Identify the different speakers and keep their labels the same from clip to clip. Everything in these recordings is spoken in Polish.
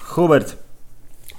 Speaker 1: Hubert,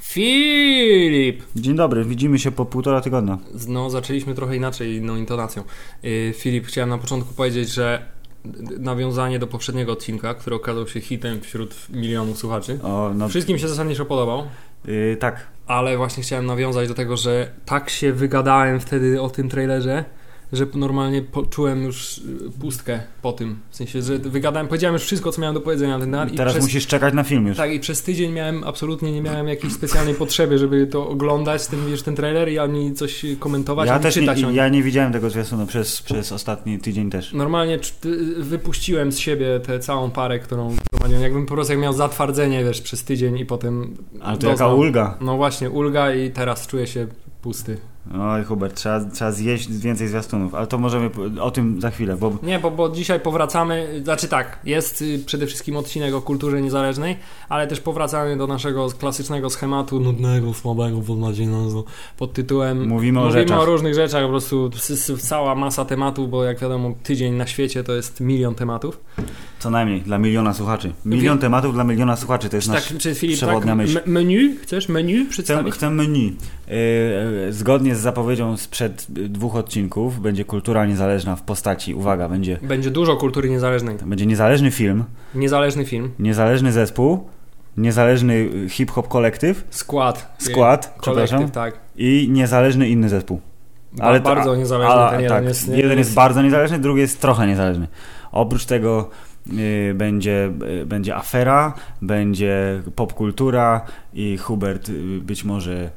Speaker 2: Filip!
Speaker 1: dzień dobry, widzimy się po półtora tygodnia.
Speaker 2: No, zaczęliśmy trochę inaczej, inną intonacją. Yy, Filip, chciałem na początku powiedzieć, że d- nawiązanie do poprzedniego odcinka, który okazał się hitem wśród milionów słuchaczy.
Speaker 1: O, no,
Speaker 2: Wszystkim się zasadniczo podobał,
Speaker 1: yy, tak,
Speaker 2: ale właśnie chciałem nawiązać do tego, że tak się wygadałem wtedy o tym trailerze, że normalnie poczułem już yy, pustkę po tym. W sensie, że wygadałem, powiedziałem już wszystko, co miałem do powiedzenia na ten temat. No i
Speaker 1: teraz
Speaker 2: przez-
Speaker 1: musisz czekać na film już.
Speaker 2: Tak, i przez tydzień miałem, absolutnie nie miałem jakiejś specjalnej potrzeby, żeby to oglądać, ten, wiesz, ten trailer i ani coś komentować,
Speaker 1: ja
Speaker 2: ani
Speaker 1: też nie,
Speaker 2: czytać o nim.
Speaker 1: ja nie widziałem tego zwiastunu przez, przez ostatni tydzień też.
Speaker 2: Normalnie cz- y, wypuściłem z siebie tę całą parę, którą gromadziłem. Jakbym po prostu jak miał zatwardzenie, wiesz, przez tydzień i potem
Speaker 1: Ale to
Speaker 2: doznał-
Speaker 1: jaka ulga.
Speaker 2: No właśnie, ulga i teraz czuję się pusty.
Speaker 1: Oj, Hubert, trzeba, trzeba zjeść więcej zwiastunów, ale to możemy po- o tym za chwilę, bo
Speaker 2: Nie, bo, bo dzisiaj powracamy, znaczy tak, jest y, przede wszystkim odcinek o kulturze niezależnej, ale też powracamy do naszego klasycznego schematu nudnego, słabego, podmadzinego, pod tytułem
Speaker 1: mówimy o
Speaker 2: Mówimy
Speaker 1: rzeczach.
Speaker 2: o różnych rzeczach, po prostu s- s- cała masa tematów, bo jak wiadomo, tydzień na świecie to jest milion tematów.
Speaker 1: Co najmniej, dla miliona słuchaczy. Milion
Speaker 2: Wie-
Speaker 1: tematów dla miliona słuchaczy, to jest
Speaker 2: Czy,
Speaker 1: nasz...
Speaker 2: tak, czy Filip, tak,
Speaker 1: przewodnia myśl.
Speaker 2: m- menu? Chcesz menu
Speaker 1: Chcę,
Speaker 2: przedstawić?
Speaker 1: chcę menu. Yy, yy, Zgodnie z zapowiedzią sprzed yy, dwóch odcinków będzie kultura niezależna w postaci, uwaga, będzie,
Speaker 2: Będzie dużo kultury niezależnej.
Speaker 1: będzie niezależny film,
Speaker 2: Niezależny film,
Speaker 1: niezależny zespół, niezależny yy, hip-hop kolektyw,
Speaker 2: skład.
Speaker 1: skład,
Speaker 2: y,
Speaker 1: przepraszam,
Speaker 2: Kolektyw, tak.
Speaker 1: i niezależny inny zespół.
Speaker 2: Ale
Speaker 1: Ale to-
Speaker 2: bardzo niezależny
Speaker 1: A,
Speaker 2: ten jeden
Speaker 1: tak,
Speaker 2: jest.
Speaker 1: jeden jest bardzo niezależny, drugi jest trochę niezależny. Oprócz tego yy, będzie, yy, będzie afera, będzie popkultura i Hubert yy, być może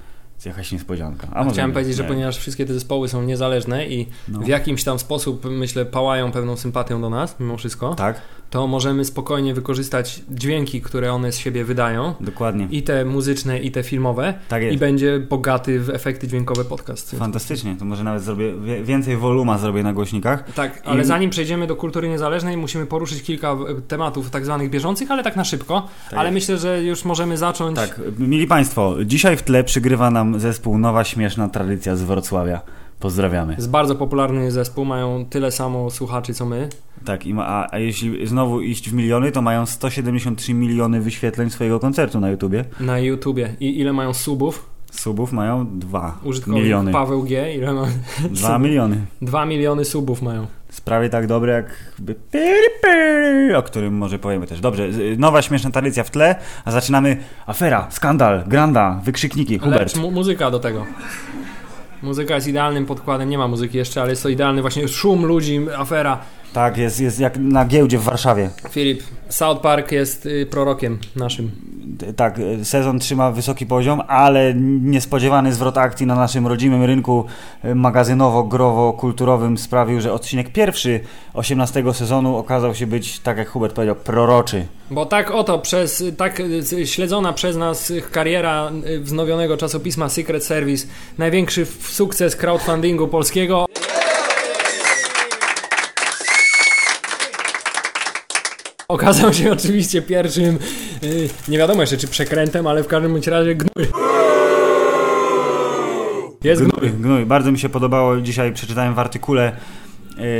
Speaker 1: jakaś niespodzianka. A może
Speaker 2: Chciałem
Speaker 1: nie,
Speaker 2: powiedzieć, że
Speaker 1: nie.
Speaker 2: ponieważ wszystkie te zespoły są niezależne i
Speaker 1: No.
Speaker 2: w jakimś tam sposób, myślę, pałają pewną sympatią do nas, mimo wszystko,
Speaker 1: Tak,
Speaker 2: to możemy spokojnie wykorzystać dźwięki, które one z siebie wydają,
Speaker 1: dokładnie.
Speaker 2: i te muzyczne, i te filmowe,
Speaker 1: Tak
Speaker 2: I
Speaker 1: jest.
Speaker 2: będzie bogaty w efekty dźwiękowe podcast.
Speaker 1: Fantastycznie, to może nawet zrobię wie- więcej woluma zrobię na głośnikach.
Speaker 2: Tak, ale
Speaker 1: I-
Speaker 2: zanim przejdziemy do kultury niezależnej, musimy poruszyć kilka e, tematów tak zwanych bieżących, ale tak na szybko.
Speaker 1: Tak
Speaker 2: ale
Speaker 1: jest.
Speaker 2: myślę, że już możemy zacząć.
Speaker 1: Tak, mili Państwo, dzisiaj w tle przygrywa nam zespół Nowa Śmieszna Tradycja z Wrocławia. Pozdrawiamy.
Speaker 2: Jest bardzo popularny zespół, mają tyle samo słuchaczy co my.
Speaker 1: Tak, i ma, a, a jeśli znowu iść w miliony, to mają 173 miliony wyświetleń swojego koncertu na YouTubie.
Speaker 2: Na YouTubie. I ile mają subów?
Speaker 1: Subów mają 2
Speaker 2: Użytkownik
Speaker 1: miliony.
Speaker 2: Paweł G. Ile ma?
Speaker 1: 2 miliony.
Speaker 2: 2 miliony subów mają.
Speaker 1: Jest Prawie tak dobre jak... by- piri, piri, O którym może powiemy też. Dobrze, z- Nowa Śmieszna Tradycja w tle, a zaczynamy afera, skandal, granda, wykrzykniki, Hubert.
Speaker 2: Lecz mu- muzyka do tego. Muzyka jest idealnym podkładem, nie ma muzyki jeszcze, ale jest to idealny właśnie szum ludzi, afera.
Speaker 1: Tak, jest, jest jak na giełdzie w Warszawie.
Speaker 2: Filip, South Park jest y, prorokiem naszym.
Speaker 1: D- Tak, e, sezon trzyma wysoki poziom, ale niespodziewany zwrot akcji na naszym rodzimym rynku e, magazynowo-growo-kulturowym sprawił, że odcinek pierwszy 18 sezonu okazał się być, tak jak Hubert powiedział, proroczy.
Speaker 2: Bo tak oto, przez, tak y, śledzona przez nas y, kariera y, wznowionego czasopisma Secret Service, największy f- sukces crowdfundingu polskiego. Okazał się oczywiście pierwszym, y, nie wiadomo jeszcze czy przekrętem, ale w każdym bądź razie gnój. Jest gnój.
Speaker 1: Gnój, gnój. Bardzo mi się podobało, dzisiaj przeczytałem w artykule, e,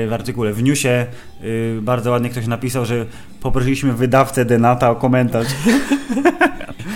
Speaker 1: w artykule, w newsie, e, bardzo ładnie ktoś napisał, że poprosiliśmy wydawcę Denata o komentarz.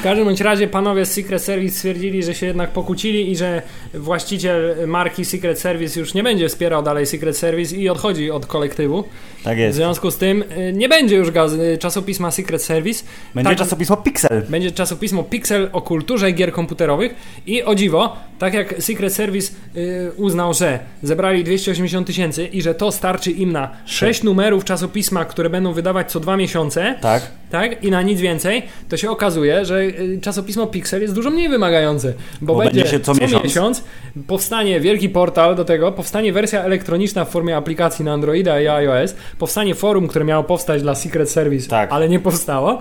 Speaker 2: W każdym bądź razie panowie z Secret Service stwierdzili, że się jednak pokłócili i że właściciel marki Secret Service już nie będzie wspierał dalej Secret Service i odchodzi od kolektywu.
Speaker 1: Tak
Speaker 2: W
Speaker 1: jest.
Speaker 2: związku z tym y, nie będzie już gaz- y, czasopisma Secret Service.
Speaker 1: Będzie
Speaker 2: tak,
Speaker 1: czasopismo Pixel.
Speaker 2: Będzie czasopismo Pixel o kulturze gier komputerowych i o dziwo, tak jak Secret Service y, uznał, że zebrali 280 tysięcy i że to starczy im na 6 numerów czasopisma, które będą wydawać co dwa miesiące,
Speaker 1: Tak.
Speaker 2: tak? I na nic więcej, to się okazuje, że y, czasopismo Pixel jest dużo mniej wymagające, bo,
Speaker 1: Bo
Speaker 2: będzie,
Speaker 1: będzie się co miesiąc.
Speaker 2: powstanie wielki portal do tego, powstanie wersja elektroniczna w formie aplikacji na Androida i iOS, powstanie forum, które miało powstać dla Secret Service,
Speaker 1: Tak.
Speaker 2: ale nie powstało.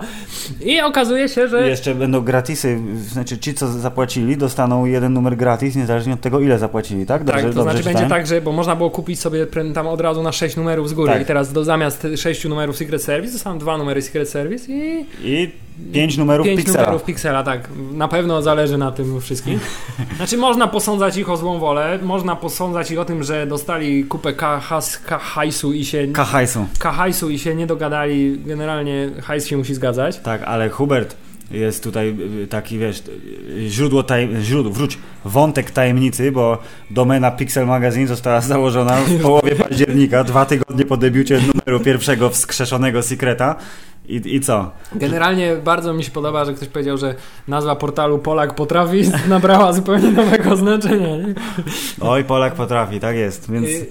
Speaker 2: I okazuje się, że
Speaker 1: I Jeszcze będą gratisy, znaczy ci, co zapłacili, dostaną jeden numer gratis, niezależnie od tego, ile zapłacili, tak?
Speaker 2: Tak,
Speaker 1: Dobrze,
Speaker 2: to znaczy
Speaker 1: czytałem?
Speaker 2: będzie tak, że bo można było kupić sobie pre- tam od razu na 6 numerów z góry
Speaker 1: Tak.
Speaker 2: i teraz do, zamiast 6 numerów Secret Service zostaną dwa numery Secret Service i
Speaker 1: I pięć numerów
Speaker 2: 5
Speaker 1: Pixela.
Speaker 2: tak- numerów Pixela, tak. Na pewno zależy na tym wszystkim. Znaczy można posądzać ich o złą wolę, można posądzać ich o tym, że dostali kupę ka- has- ka- hajsu i się
Speaker 1: Kahajsu.
Speaker 2: ka- hajsu i się nie dogadali. Generalnie hajs się musi zgadzać.
Speaker 1: Tak, ale Hubert, Jest tutaj y, taki, wiesz, y, źródło, taj... źródło wróć, wątek tajemnicy, bo domena Pixel Magazine została założona w połowie października, dwa tygodnie po debiucie numeru pierwszego wskrzeszonego Secreta. I, I co?
Speaker 2: Generalnie bardzo mi się podoba, że ktoś powiedział, że nazwa portalu Polak potrafi nabrała zupełnie nowego znaczenia. Nie?
Speaker 1: Oj, Polak potrafi, tak jest. Więc...
Speaker 2: Y,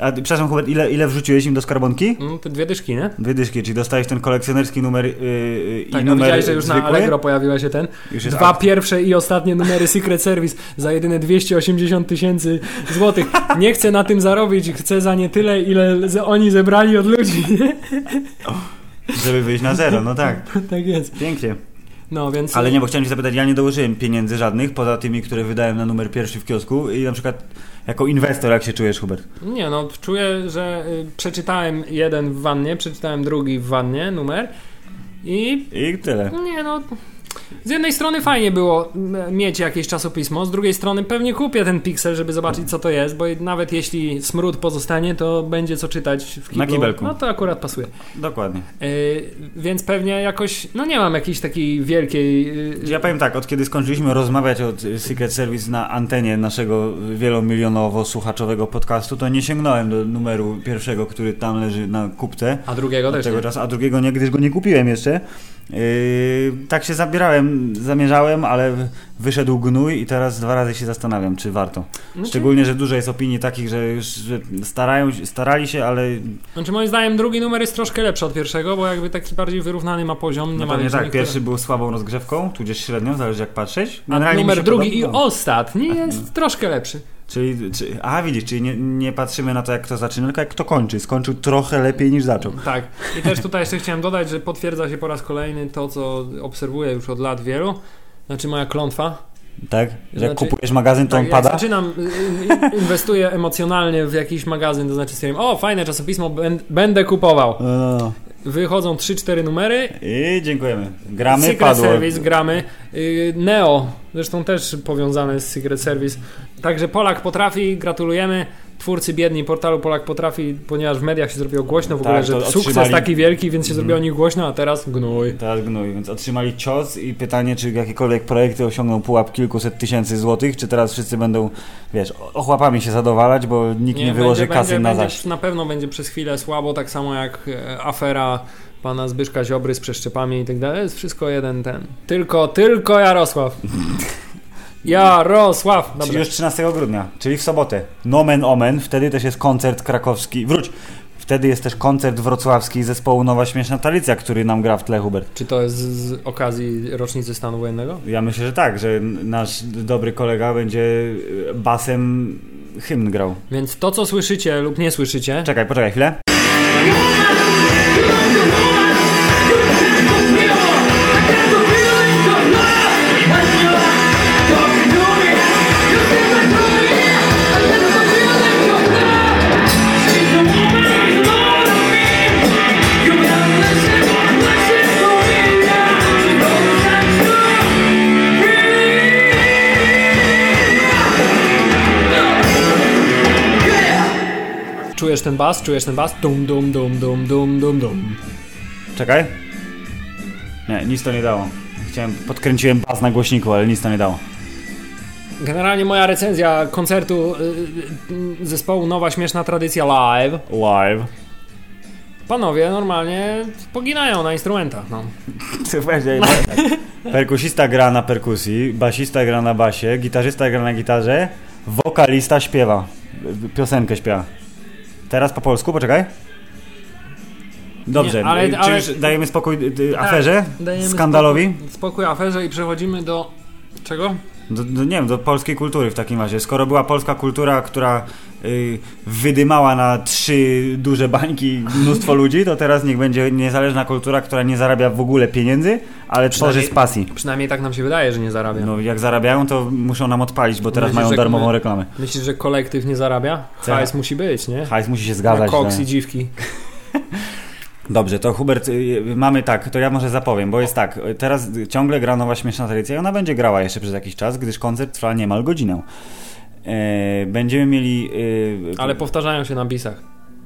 Speaker 1: A, przepraszam, Hubert, ile, ile wrzuciłeś im do skarbonki?
Speaker 2: mm, Te dwie dyszki, nie?
Speaker 1: Dwie dyszki, czyli dostałeś ten kolekcjonerski numer yy, yy,
Speaker 2: Tak,
Speaker 1: i
Speaker 2: no
Speaker 1: numer
Speaker 2: widziałeś, że już
Speaker 1: zwykły?
Speaker 2: na Allegro pojawiła się ten.
Speaker 1: Już jest
Speaker 2: Dwa
Speaker 1: akcja.
Speaker 2: pierwsze i ostatnie numery Secret Service za jedyne 280 tysięcy złotych. Nie chcę na tym zarobić, chcę za nie tyle, ile ze- oni zebrali od ludzi.
Speaker 1: Żeby wyjść na zero, no tak.
Speaker 2: tak jest.
Speaker 1: Pięknie.
Speaker 2: No więc.
Speaker 1: Ale nie, bo chciałem cię zapytać, ja nie dołożyłem pieniędzy żadnych, poza tymi, które wydałem na numer pierwszy w kiosku i na przykład jako inwestor, jak się czujesz, Hubert?
Speaker 2: Nie, no czuję, że y, przeczytałem jeden w wannie, przeczytałem drugi w wannie numer i
Speaker 1: I tyle.
Speaker 2: nie no. Z jednej strony fajnie było m, mieć jakieś czasopismo, z drugiej strony pewnie kupię ten piksel, żeby zobaczyć co to jest, bo nawet jeśli smród pozostanie, to będzie co czytać w kiblu.
Speaker 1: Na kibelku.
Speaker 2: No to akurat pasuje.
Speaker 1: Dokładnie.
Speaker 2: Y, więc pewnie jakoś, no nie mam jakiejś takiej wielkiej... y,
Speaker 1: Ja powiem tak, od kiedy skończyliśmy rozmawiać o y, Secret Service na antenie naszego wielomilionowo-słuchaczowego podcastu, to nie sięgnąłem do numeru pierwszego, który tam leży na kupce.
Speaker 2: A drugiego
Speaker 1: Od
Speaker 2: też nie.
Speaker 1: tego czasu, a drugiego nie, gdyż go nie kupiłem jeszcze. Yy, tak się zabierałem, zamierzałem, ale w- wyszedł gnój i teraz dwa razy się zastanawiam, czy warto.
Speaker 2: Znaczy-
Speaker 1: Szczególnie, że dużo jest opinii takich, że już że starają, się- starali się, ale
Speaker 2: Znaczy moim zdaniem drugi numer jest troszkę lepszy od pierwszego, bo jakby taki bardziej wyrównany ma poziom. Nie
Speaker 1: no
Speaker 2: ma
Speaker 1: pewnie
Speaker 2: jakichś
Speaker 1: tak,
Speaker 2: niektórych-
Speaker 1: pierwszy był słabą rozgrzewką, tudzież średnią, zależy jak patrzeć.
Speaker 2: A
Speaker 1: mi
Speaker 2: numer
Speaker 1: się
Speaker 2: drugi i
Speaker 1: podoba- no.
Speaker 2: ostatni jest troszkę lepszy.
Speaker 1: Czyli, czy, a widzisz, czyli nie, nie patrzymy na to, jak kto zaczyna, tylko jak kto kończy. Skończył trochę lepiej niż zaczął.
Speaker 2: Tak. I też tutaj jeszcze chciałem dodać, że potwierdza się po raz kolejny to, co obserwuję już od lat wielu. Znaczy moja klątwa.
Speaker 1: Tak? Że jak
Speaker 2: Znaczy-
Speaker 1: kupujesz magazyn, to
Speaker 2: Tak,
Speaker 1: on
Speaker 2: jak
Speaker 1: pada?
Speaker 2: zaczynam, y, y, inwestuję emocjonalnie w jakiś magazyn, to znaczy stwierdzam, o fajne czasopismo, bę- będę kupował.
Speaker 1: No.
Speaker 2: Wychodzą 3-4 numery,
Speaker 1: I dziękujemy. Gramy,
Speaker 2: Secret
Speaker 1: padło.
Speaker 2: Service gramy. Y, Neo, zresztą też powiązane z Secret Service. Także Polak potrafi, gratulujemy. Twórcy biedni portalu Polak potrafi, ponieważ w mediach się zrobiło głośno w
Speaker 1: Tak,
Speaker 2: ogóle,
Speaker 1: to
Speaker 2: że
Speaker 1: otrzymali- Mhm.
Speaker 2: sukces taki wielki, więc się zrobiło o nich głośno, a teraz gnój.
Speaker 1: Teraz gnój, więc otrzymali cios i pytanie, czy jakiekolwiek projekty osiągną pułap kilkuset tysięcy złotych, czy teraz wszyscy będą, wiesz, ochłapami się zadowalać, bo nikt nie, wyłoży
Speaker 2: będzie-
Speaker 1: kasy
Speaker 2: będzie-
Speaker 1: na
Speaker 2: będzie-
Speaker 1: zaś.
Speaker 2: Na pewno będzie przez chwilę słabo, tak samo jak e, afera pana Zbyszka Ziobry z przeszczepami i tak dalej. Jest wszystko jeden ten. Tylko, tylko Jarosław. Jarosław!
Speaker 1: Czyli
Speaker 2: Dobra.
Speaker 1: już 13 grudnia, czyli w sobotę. Nomen omen, wtedy też jest koncert krakowski. Wróć! Wtedy jest też koncert wrocławski zespołu Nowa Śmieszna Talicja, który nam gra w tle, Hubert.
Speaker 2: Czy to jest z z okazji rocznicy stanu wojennego?
Speaker 1: Ja myślę, że tak, że n- nasz dobry kolega będzie y, basem hymn grał.
Speaker 2: Więc to, co słyszycie lub nie słyszycie,
Speaker 1: Czekaj, poczekaj chwilę.
Speaker 2: czujesz ten bas, czujesz ten bas, dum, dum, dum, dum, dum, dum, dum.
Speaker 1: Czekaj. Nie, nic to nie dało. Chciałem, podkręciłem bas na głośniku, ale nic to nie dało.
Speaker 2: Generalnie moja recenzja koncertu y, y, y, zespołu Nowa Śmieszna Tradycja Live.
Speaker 1: Live.
Speaker 2: Panowie normalnie poginają na instrumentach, no.
Speaker 1: Perkusista gra na perkusji, basista gra na basie, gitarzysta gra na gitarze, wokalista śpiewa. Piosenkę śpiewa. Teraz po polsku, poczekaj. Dobrze,
Speaker 2: Nie, ale-
Speaker 1: czy
Speaker 2: ale- Tak,
Speaker 1: już dajemy spokój y, y, aferze?
Speaker 2: dajemy
Speaker 1: skandalowi?
Speaker 2: Spokój, spokój aferze i przechodzimy do... Czego?
Speaker 1: Do, do, nie wiem, do polskiej kultury w takim razie. Skoro była polska kultura, która y, wydymała na trzy duże bańki mnóstwo ludzi, to teraz niech będzie niezależna kultura, która nie zarabia w ogóle pieniędzy, ale tworzy z pasji.
Speaker 2: Przynajmniej tak nam się wydaje, że nie zarabia.
Speaker 1: No jak zarabiają, to muszą nam odpalić, bo teraz
Speaker 2: Myślisz,
Speaker 1: mają
Speaker 2: że
Speaker 1: darmową
Speaker 2: my-
Speaker 1: reklamę.
Speaker 2: Myślisz, że kolektyw nie zarabia?
Speaker 1: Tak.
Speaker 2: Hajs musi być, nie?
Speaker 1: Hajs musi się
Speaker 2: Na
Speaker 1: zgadzać.
Speaker 2: koks
Speaker 1: że-
Speaker 2: i dziwki.
Speaker 1: Dobrze, to Hubert, y, mamy tak, to ja może zapowiem, bo jest tak, y, teraz y, ciągle gra nowa śmieszna tradycja i ona będzie grała jeszcze przez jakiś czas, gdyż koncert trwa niemal godzinę. E, będziemy mieli... y,
Speaker 2: Ale powtarzają się na bisach,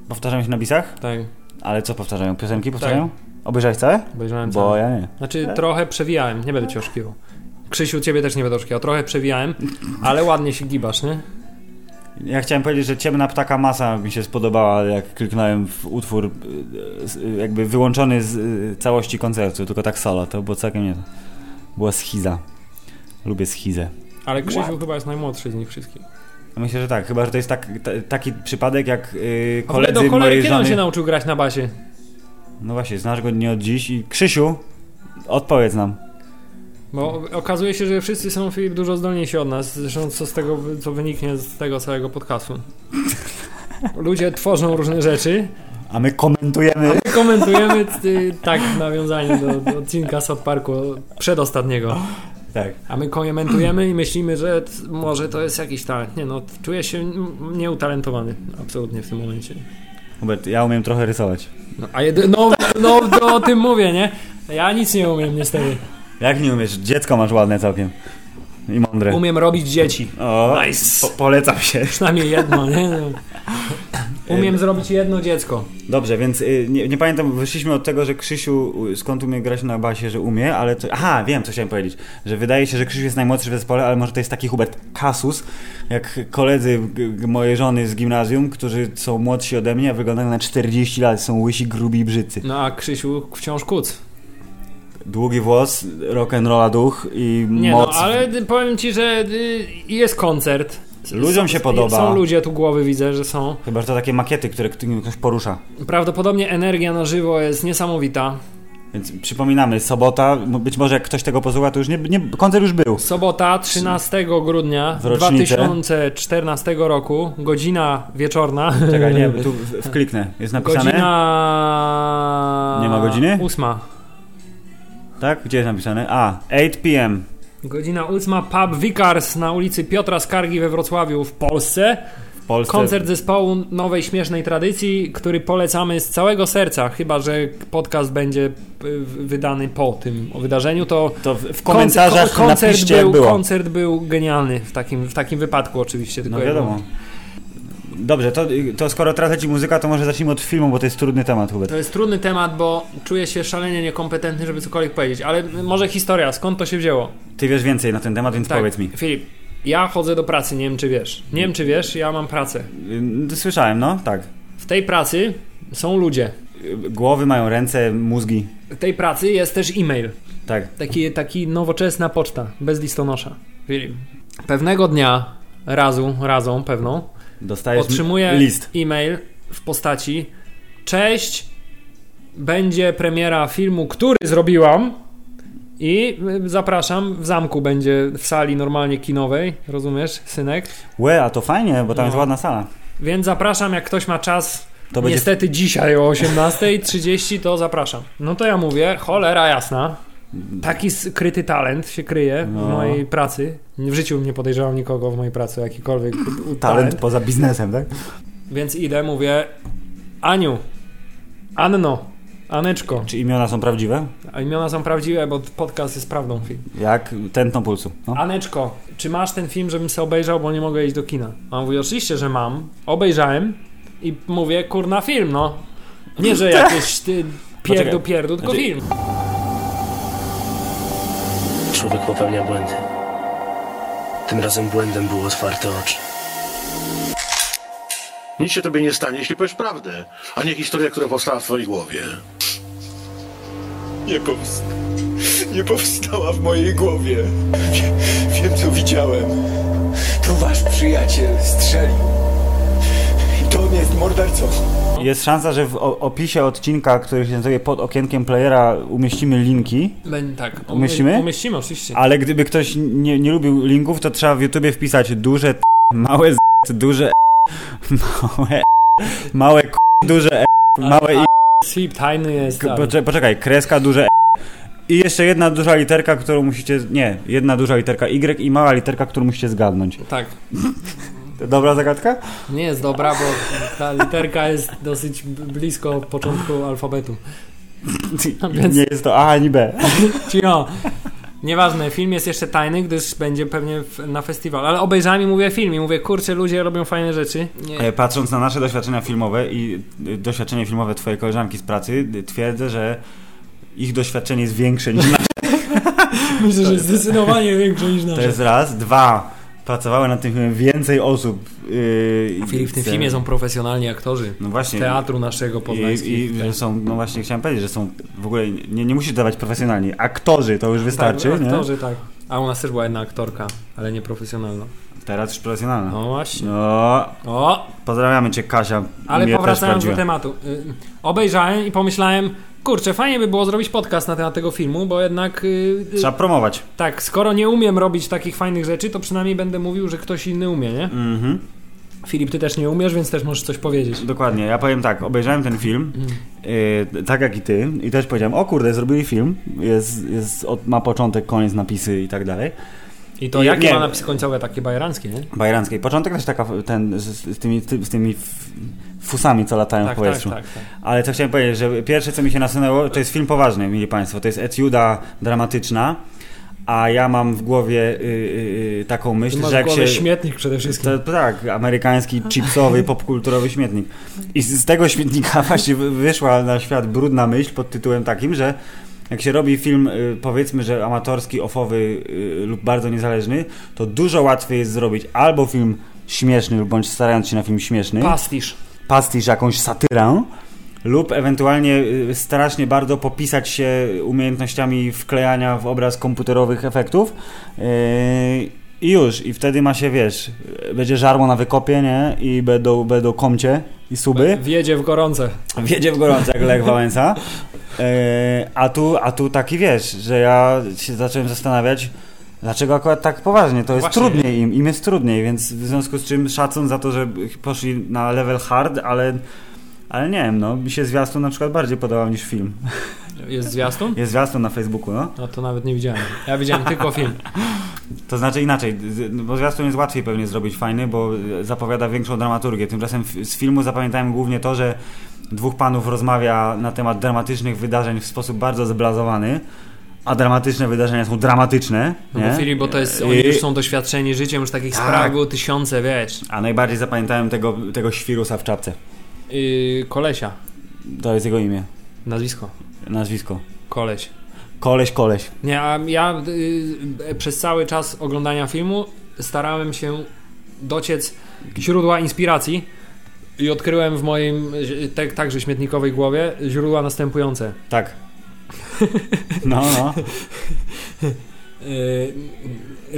Speaker 1: Powtarzamy się na bisach?
Speaker 2: tak.
Speaker 1: Ale co powtarzają? Piosenki powtarzają? Obejrzałeś całe?
Speaker 2: Obejrzałem
Speaker 1: Bo
Speaker 2: całe.
Speaker 1: ja nie.
Speaker 2: Znaczy trochę przewijałem, nie będę cię oszukiwał. Krzysiu, ciebie też nie będę oszukiwał, trochę przewijałem, ale ładnie się gibasz, nie?
Speaker 1: Ja chciałem powiedzieć, że ciemna ptaka masa mi się spodobała, jak kliknąłem w utwór y, y, jakby wyłączony z y, całości koncertu, tylko tak solo, to było całkiem nie. Była schiza. Lubię schizę.
Speaker 2: Ale Krzysiu chyba jest najmłodszy z nich wszystkich.
Speaker 1: Myślę, że tak, chyba że to jest tak, ta, taki przypadek jak y,
Speaker 2: A w ogóle
Speaker 1: koledzy
Speaker 2: do cholery,
Speaker 1: mojej
Speaker 2: kiedy on
Speaker 1: żony.
Speaker 2: się nauczył grać na basie?
Speaker 1: No właśnie, znasz go nie od dziś i Krzysiu, odpowiedz nam.
Speaker 2: Bo okazuje się, że wszyscy są Filip dużo zdolniejsi od nas, zresztą co z tego, co wyniknie z tego całego podcastu. Ludzie tworzą różne rzeczy,
Speaker 1: A my komentujemy.
Speaker 2: komentujemy y, tak w nawiązaniu do, do odcinka South Parku przedostatniego.
Speaker 1: Tak.
Speaker 2: A my komentujemy i myślimy, że t- może to jest jakiś talent. Nie no, t- czuję się m- nieutalentowany absolutnie w tym momencie.
Speaker 1: Hubert, ja umiem trochę rysować.
Speaker 2: No, a jedy, no, no to o tym mówię, nie? Ja nic nie umiem niestety.
Speaker 1: Jak nie umiesz? Dziecko masz ładne całkiem. I mądre.
Speaker 2: Umiem robić dzieci.
Speaker 1: O,
Speaker 2: Nice.
Speaker 1: po polecam się.
Speaker 2: Przynajmniej jedno, nie? No. Umiem zrobić jedno dziecko.
Speaker 1: Dobrze, więc y, nie, nie pamiętam, wyszliśmy od tego, że Krzysiu, y, skąd umie grać na basie, że umie, ale to, aha, wiem, co chciałem powiedzieć, że wydaje się, że Krzysiu jest najmłodszy w zespole, ale może to jest taki Hubert Kasus, jak koledzy g- g- mojej żony z gimnazjum, którzy są młodsi ode mnie, a wyglądają na 40 lat, są łysi, grubi i brzydcy.
Speaker 2: No a Krzysiu wciąż kuc.
Speaker 1: Długi włos, rock'n'rolla duch i
Speaker 2: Nie
Speaker 1: moc.
Speaker 2: no, ale d- powiem ci, że y, jest koncert. S-
Speaker 1: Ludziom się
Speaker 2: są-
Speaker 1: podoba.
Speaker 2: Są ludzie, tu głowy widzę, że są.
Speaker 1: Chyba, że to takie makiety, które k- ktoś porusza.
Speaker 2: Prawdopodobnie energia na żywo jest niesamowita.
Speaker 1: Więc przypominamy, sobota, m- być może jak ktoś tego posłucha, to już nie, nie koncert już był.
Speaker 2: Sobota 13 grudnia
Speaker 1: W rocznicę.
Speaker 2: 2014 roku, godzina wieczorna.
Speaker 1: Czekaj, nie,
Speaker 2: Eee.
Speaker 1: tu w- wkliknę, jest napisane,
Speaker 2: Godzina.
Speaker 1: Nie ma godziny?
Speaker 2: Ósma.
Speaker 1: tak? Gdzie jest napisane? A, 8 p.m.
Speaker 2: Godzina ósma, pub Wikars na ulicy Piotra Skargi we Wrocławiu w Polsce.
Speaker 1: w Polsce.
Speaker 2: Koncert zespołu nowej śmiesznej tradycji, który polecamy z całego serca, chyba że podcast będzie y, wydany po tym wydarzeniu, to
Speaker 1: To w, w komentarzach
Speaker 2: Konce- ko- koncert
Speaker 1: napiszcie,
Speaker 2: był,
Speaker 1: jak było.
Speaker 2: Koncert był genialny w takim, w takim wypadku oczywiście. Tylko
Speaker 1: No wiadomo. Dobrze, to, to skoro teraz leci muzyka, to może zacznijmy od filmu, bo to jest trudny temat, Hubert.
Speaker 2: To jest trudny temat, bo czuję się szalenie niekompetentny, żeby cokolwiek powiedzieć, ale może historia, skąd to się wzięło?
Speaker 1: Ty wiesz więcej na ten temat, więc
Speaker 2: Tak,
Speaker 1: powiedz mi.
Speaker 2: Filip, ja chodzę do pracy, nie wiem czy wiesz. Nie wiem czy wiesz, ja mam pracę.
Speaker 1: Y, Słyszałem, no, tak.
Speaker 2: W tej pracy są ludzie.
Speaker 1: Y, Głowy mają ręce, mózgi.
Speaker 2: W tej pracy jest też e-mail.
Speaker 1: Tak.
Speaker 2: Taki, taki nowoczesna poczta, bez listonosza. Filip. Pewnego dnia, razu, razą pewną,
Speaker 1: Dostajesz
Speaker 2: otrzymuję
Speaker 1: list.
Speaker 2: e-mail w postaci Cześć, będzie premiera filmu, który zrobiłam i y, zapraszam, w zamku będzie w sali normalnie kinowej, rozumiesz, synek?
Speaker 1: Łe, a to fajnie, bo tam
Speaker 2: No.
Speaker 1: jest ładna sala.
Speaker 2: Więc zapraszam, jak ktoś ma czas,
Speaker 1: To będzie...
Speaker 2: niestety dzisiaj o 18.30, to zapraszam. No to ja mówię, cholera jasna, taki skryty talent się kryje
Speaker 1: No.
Speaker 2: w mojej pracy. W życiu nie podejrzewam nikogo w mojej pracy, o jakikolwiek
Speaker 1: Talent poza biznesem, tak?
Speaker 2: Więc idę, mówię Aniu, Anno, Aneczko.
Speaker 1: Czy imiona są prawdziwe?
Speaker 2: A imiona są prawdziwe, bo podcast jest prawdą film.
Speaker 1: Jak tętno pulsu. No.
Speaker 2: Aneczko, czy masz ten film, żebym se obejrzał, bo nie mogę iść do kina? A on mówi, oczywiście, że mam. Obejrzałem i mówię, kurna film, no. Nie, że jakieś ty pierdu,
Speaker 1: Poczekaj.
Speaker 2: pierdu, tylko
Speaker 1: Znaczy-
Speaker 2: film.
Speaker 3: Człowiek popełnia błędy. Tym razem błędem było otwarte oczy.
Speaker 4: Nic się tobie nie stanie, jeśli powiesz prawdę, a nie historia, która powstała w twojej głowie.
Speaker 5: Nie, powst- nie powstała w mojej głowie. Wie- wiem, co widziałem. To wasz przyjaciel strzelił. I to on jest mordercą.
Speaker 1: Jest szansa, że w o- opisie odcinka, który się znajduje pod okienkiem playera, umieścimy linki.
Speaker 2: Będę tak. umie-
Speaker 1: Umieścimy?
Speaker 2: Umieścimy, oczywiście.
Speaker 1: Ale gdyby ktoś nie, nie lubił linków, to trzeba w YouTubie wpisać duże t, małe z, duże e, małe e, małe k, duże e, małe i.
Speaker 2: Sleep tajny jest. tak.
Speaker 1: K,
Speaker 2: dalej.
Speaker 1: poczekaj, poczekaj, kreska duże e. I jeszcze jedna duża literka, którą musicie. Nie, jedna duża literka Y i mała literka, którą musicie zgadnąć.
Speaker 2: Tak.
Speaker 1: To Dobra zagadka?
Speaker 2: Nie jest dobra, bo ta literka jest dosyć b- blisko początku alfabetu. Więc-
Speaker 1: Nie jest to A ani B.
Speaker 2: Cio. Nieważne, film jest jeszcze tajny, gdyż będzie pewnie w, na festiwal. Ale obejrzałem i mówię film i mówię, kurczę, ludzie robią fajne rzeczy. Nie.
Speaker 1: E, Patrząc na nasze doświadczenia filmowe i y, doświadczenie filmowe twojej koleżanki z pracy, y, twierdzę, że ich doświadczenie jest większe niż nasze.
Speaker 2: Myślę, że zdecydowanie większe niż
Speaker 1: To
Speaker 2: nasze.
Speaker 1: jest raz. Dwa, pracowały nad tym filmem więcej osób. Yy, i-
Speaker 2: Filip, w tym
Speaker 1: chcę-
Speaker 2: filmie są profesjonalni aktorzy.
Speaker 1: No właśnie.
Speaker 2: Teatru naszego Tak.
Speaker 1: I,
Speaker 2: poznańskiego.
Speaker 1: i że są, no właśnie chciałem powiedzieć, że są w ogóle, nie, nie musisz dawać profesjonalni, aktorzy to już wystarczy,
Speaker 2: tak,
Speaker 1: nie?
Speaker 2: aktorzy, tak. A u nas też była jedna aktorka, ale nieprofesjonalna.
Speaker 1: Teraz już profesjonalna.
Speaker 2: No właśnie.
Speaker 1: No,
Speaker 2: O,
Speaker 1: pozdrawiamy cię Kasia.
Speaker 2: ale
Speaker 1: Mnie też
Speaker 2: powracając do
Speaker 1: sprawdziła.
Speaker 2: tematu. y, Obejrzałem i pomyślałem, kurczę, fajnie by było zrobić podcast na temat tego filmu, bo jednak y, y,
Speaker 1: Trzeba promować.
Speaker 2: tak, skoro nie umiem robić takich fajnych rzeczy, to przynajmniej będę mówił, że ktoś inny umie, nie?
Speaker 1: Mhm.
Speaker 2: Filip, ty też nie umiesz, więc też możesz coś powiedzieć.
Speaker 1: Dokładnie, ja powiem tak, obejrzałem ten film,
Speaker 2: Mhm.
Speaker 1: yy, tak jak i ty, i też powiedziałem, o kurde, zrobili film, jest, jest, od, ma początek, koniec, napisy i tak dalej.
Speaker 2: I to
Speaker 1: I-
Speaker 2: jakie
Speaker 1: nie.
Speaker 2: ma napisy końcowe takie bajeranckie, nie?
Speaker 1: Bajeranckiej. Początek też taka, ten, z, z tymi, ty, z tymi f- fusami, co latają
Speaker 2: Tak,
Speaker 1: po
Speaker 2: tak,
Speaker 1: powietrzu.
Speaker 2: tak, tak.
Speaker 1: Ale co chciałem powiedzieć, że pierwsze co mi się nasunęło, to jest film poważny, mili Państwo. To jest etiuda dramatyczna, a ja mam w głowie y, y, y, taką
Speaker 2: Ty
Speaker 1: myśl,
Speaker 2: masz
Speaker 1: że jak się.
Speaker 2: się... śmietnik przede wszystkim.
Speaker 1: To, tak, amerykański, chipsowy, popkulturowy śmietnik. I z z tego śmietnika właśnie wy- wyszła na świat brudna myśl pod tytułem takim, że jak się robi film, y, powiedzmy, że amatorski, ofowy y, lub bardzo niezależny, to dużo łatwiej jest zrobić albo film śmieszny, lub bądź starając się na film śmieszny,
Speaker 2: Pastisz.
Speaker 1: pastisz, jakąś satyrę, lub ewentualnie y, strasznie bardzo popisać się umiejętnościami wklejania w obraz komputerowych efektów. Yy, I już, i wtedy ma się, wiesz, y, będzie żarło na wykopie, nie? I będą, będą komcie i suby.
Speaker 2: Wjedzie w gorące.
Speaker 1: Wiedzie w gorąco jak Lech Wałęsa. E, a, tu, a tu taki wiesz, że ja się zacząłem zastanawiać, dlaczego akurat tak poważnie. To jest
Speaker 2: Właśnie.
Speaker 1: trudniej im, im jest trudniej, więc w związku z czym szacun za to, że poszli na level hard, ale. Ale nie wiem, no mi się zwiastun na przykład bardziej podobał niż film.
Speaker 2: Jest zwiastun?
Speaker 1: Jest zwiastun na Facebooku, no.
Speaker 2: No to nawet nie widziałem. Ja widziałem tylko film.
Speaker 1: To znaczy inaczej, z- bo zwiastun jest łatwiej pewnie zrobić fajny, bo zapowiada większą dramaturgię. Tymczasem f- z filmu zapamiętałem głównie to, że dwóch panów rozmawia na temat dramatycznych wydarzeń w sposób bardzo zblazowany, a dramatyczne wydarzenia są dramatyczne.
Speaker 2: No bo
Speaker 1: nie?
Speaker 2: Filip, bo to jest, oni
Speaker 1: I-
Speaker 2: już są doświadczeni życiem, już takich
Speaker 1: Tak.
Speaker 2: spraw było tysiące, wiesz.
Speaker 1: A najbardziej zapamiętałem tego, tego świrusa w czapce.
Speaker 2: Yy, kolesia,
Speaker 1: To jest jego imię,
Speaker 2: nazwisko,
Speaker 1: nazwisko.
Speaker 2: koleś.
Speaker 1: Koleś, koleś.
Speaker 2: Nie, a ja y, przez cały czas oglądania filmu starałem się dociec źródła inspiracji i odkryłem w moim y, te, także śmietnikowej głowie źródła następujące.
Speaker 1: Tak. No, no.
Speaker 2: Y,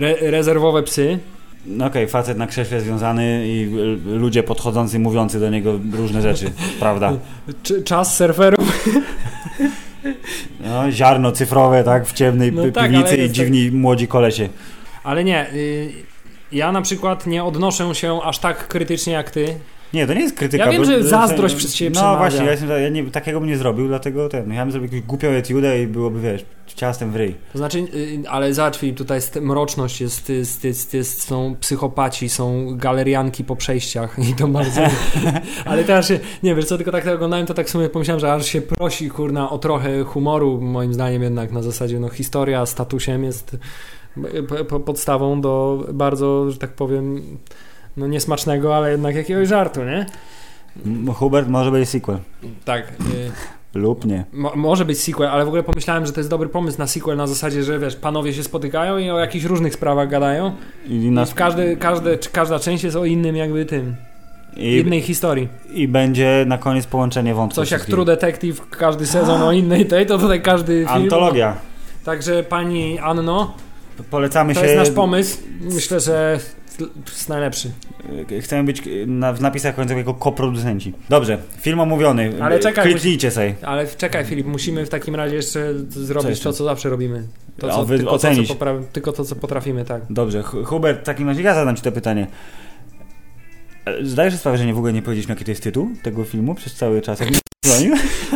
Speaker 2: re, rezerwowe psy,
Speaker 1: No Okej, facet na krześle związany i l- ludzie podchodzący, mówiący do niego różne rzeczy, prawda?
Speaker 2: czy, czas surferów,
Speaker 1: No, ziarno cyfrowe, tak, w ciemnej
Speaker 2: No
Speaker 1: pi-
Speaker 2: tak,
Speaker 1: piwnicy
Speaker 2: ale
Speaker 1: i
Speaker 2: jest
Speaker 1: dziwni młodzi kolesie.
Speaker 2: ale nie, y, ja na przykład nie odnoszę się aż tak krytycznie jak ty.
Speaker 1: Nie, to nie jest krytyka.
Speaker 2: Ja wiem,
Speaker 1: bo-
Speaker 2: że
Speaker 1: bo-
Speaker 2: zazdrość przez ciebie
Speaker 1: No
Speaker 2: przemawia.
Speaker 1: właśnie, ja, jestem, ja nie, takiego bym nie zrobił, dlatego ten, no, ja bym zrobił jakąś głupią etiudę i byłoby, wiesz, ciastem w ryj.
Speaker 2: To znaczy, y, ale zobacz Filip, tutaj jest mroczność, jest, jest, jest, jest, są psychopaci, są galerianki po przejściach i to bardzo... ale teraz, się- nie wiesz co, tylko tak to oglądałem, to tak w sumie pomyślałem, że aż się prosi, kurna, o trochę humoru, moim zdaniem jednak na zasadzie, no historia z statusem jest y, p- p- podstawą do bardzo, że tak powiem, no niesmacznego, ale jednak jakiegoś żartu, nie?
Speaker 1: M- Hubert może być sequel.
Speaker 2: Tak. y,
Speaker 1: Lub nie.
Speaker 2: Mo- może być sequel, ale w ogóle pomyślałem, że to jest dobry pomysł na sequel na zasadzie, że wiesz, panowie się spotykają i o jakichś różnych sprawach gadają.
Speaker 1: I,
Speaker 2: I
Speaker 1: nas,
Speaker 2: w każdy, każdy, czy każda część jest o innym jakby tym,
Speaker 1: i,
Speaker 2: innej historii.
Speaker 1: I będzie na koniec połączenie wątków.
Speaker 2: Coś jak
Speaker 1: wszystkich.
Speaker 2: True Detective, każdy sezon o innej tej, to tutaj każdy film.
Speaker 1: Antologia.
Speaker 2: Także pani Anno,
Speaker 1: Polecamy
Speaker 2: to
Speaker 1: się.
Speaker 2: jest nasz pomysł. Myślę, że jest najlepszy.
Speaker 1: y, Chcemy być y, na, w napisach końcowych jako koproducenci. Dobrze, film omówiony.
Speaker 2: Ale
Speaker 1: Y,
Speaker 2: czekaj,
Speaker 1: Kliknijcie sobie.
Speaker 2: Ale czekaj Filip, musimy w takim razie jeszcze zrobić
Speaker 1: jeszcze?
Speaker 2: to, co zawsze robimy. To, co,
Speaker 1: O, wy-
Speaker 2: tylko,
Speaker 1: ocenić.
Speaker 2: To, co popra- tylko to, co potrafimy, tak.
Speaker 1: Dobrze, Hu- Hubert, w takim razie ja zadam ci to pytanie. E, Zdajesz sobie sprawę, że nie w ogóle nie powiedzieliśmy, jaki to jest tytuł tego filmu przez cały czas, jak dzwonił?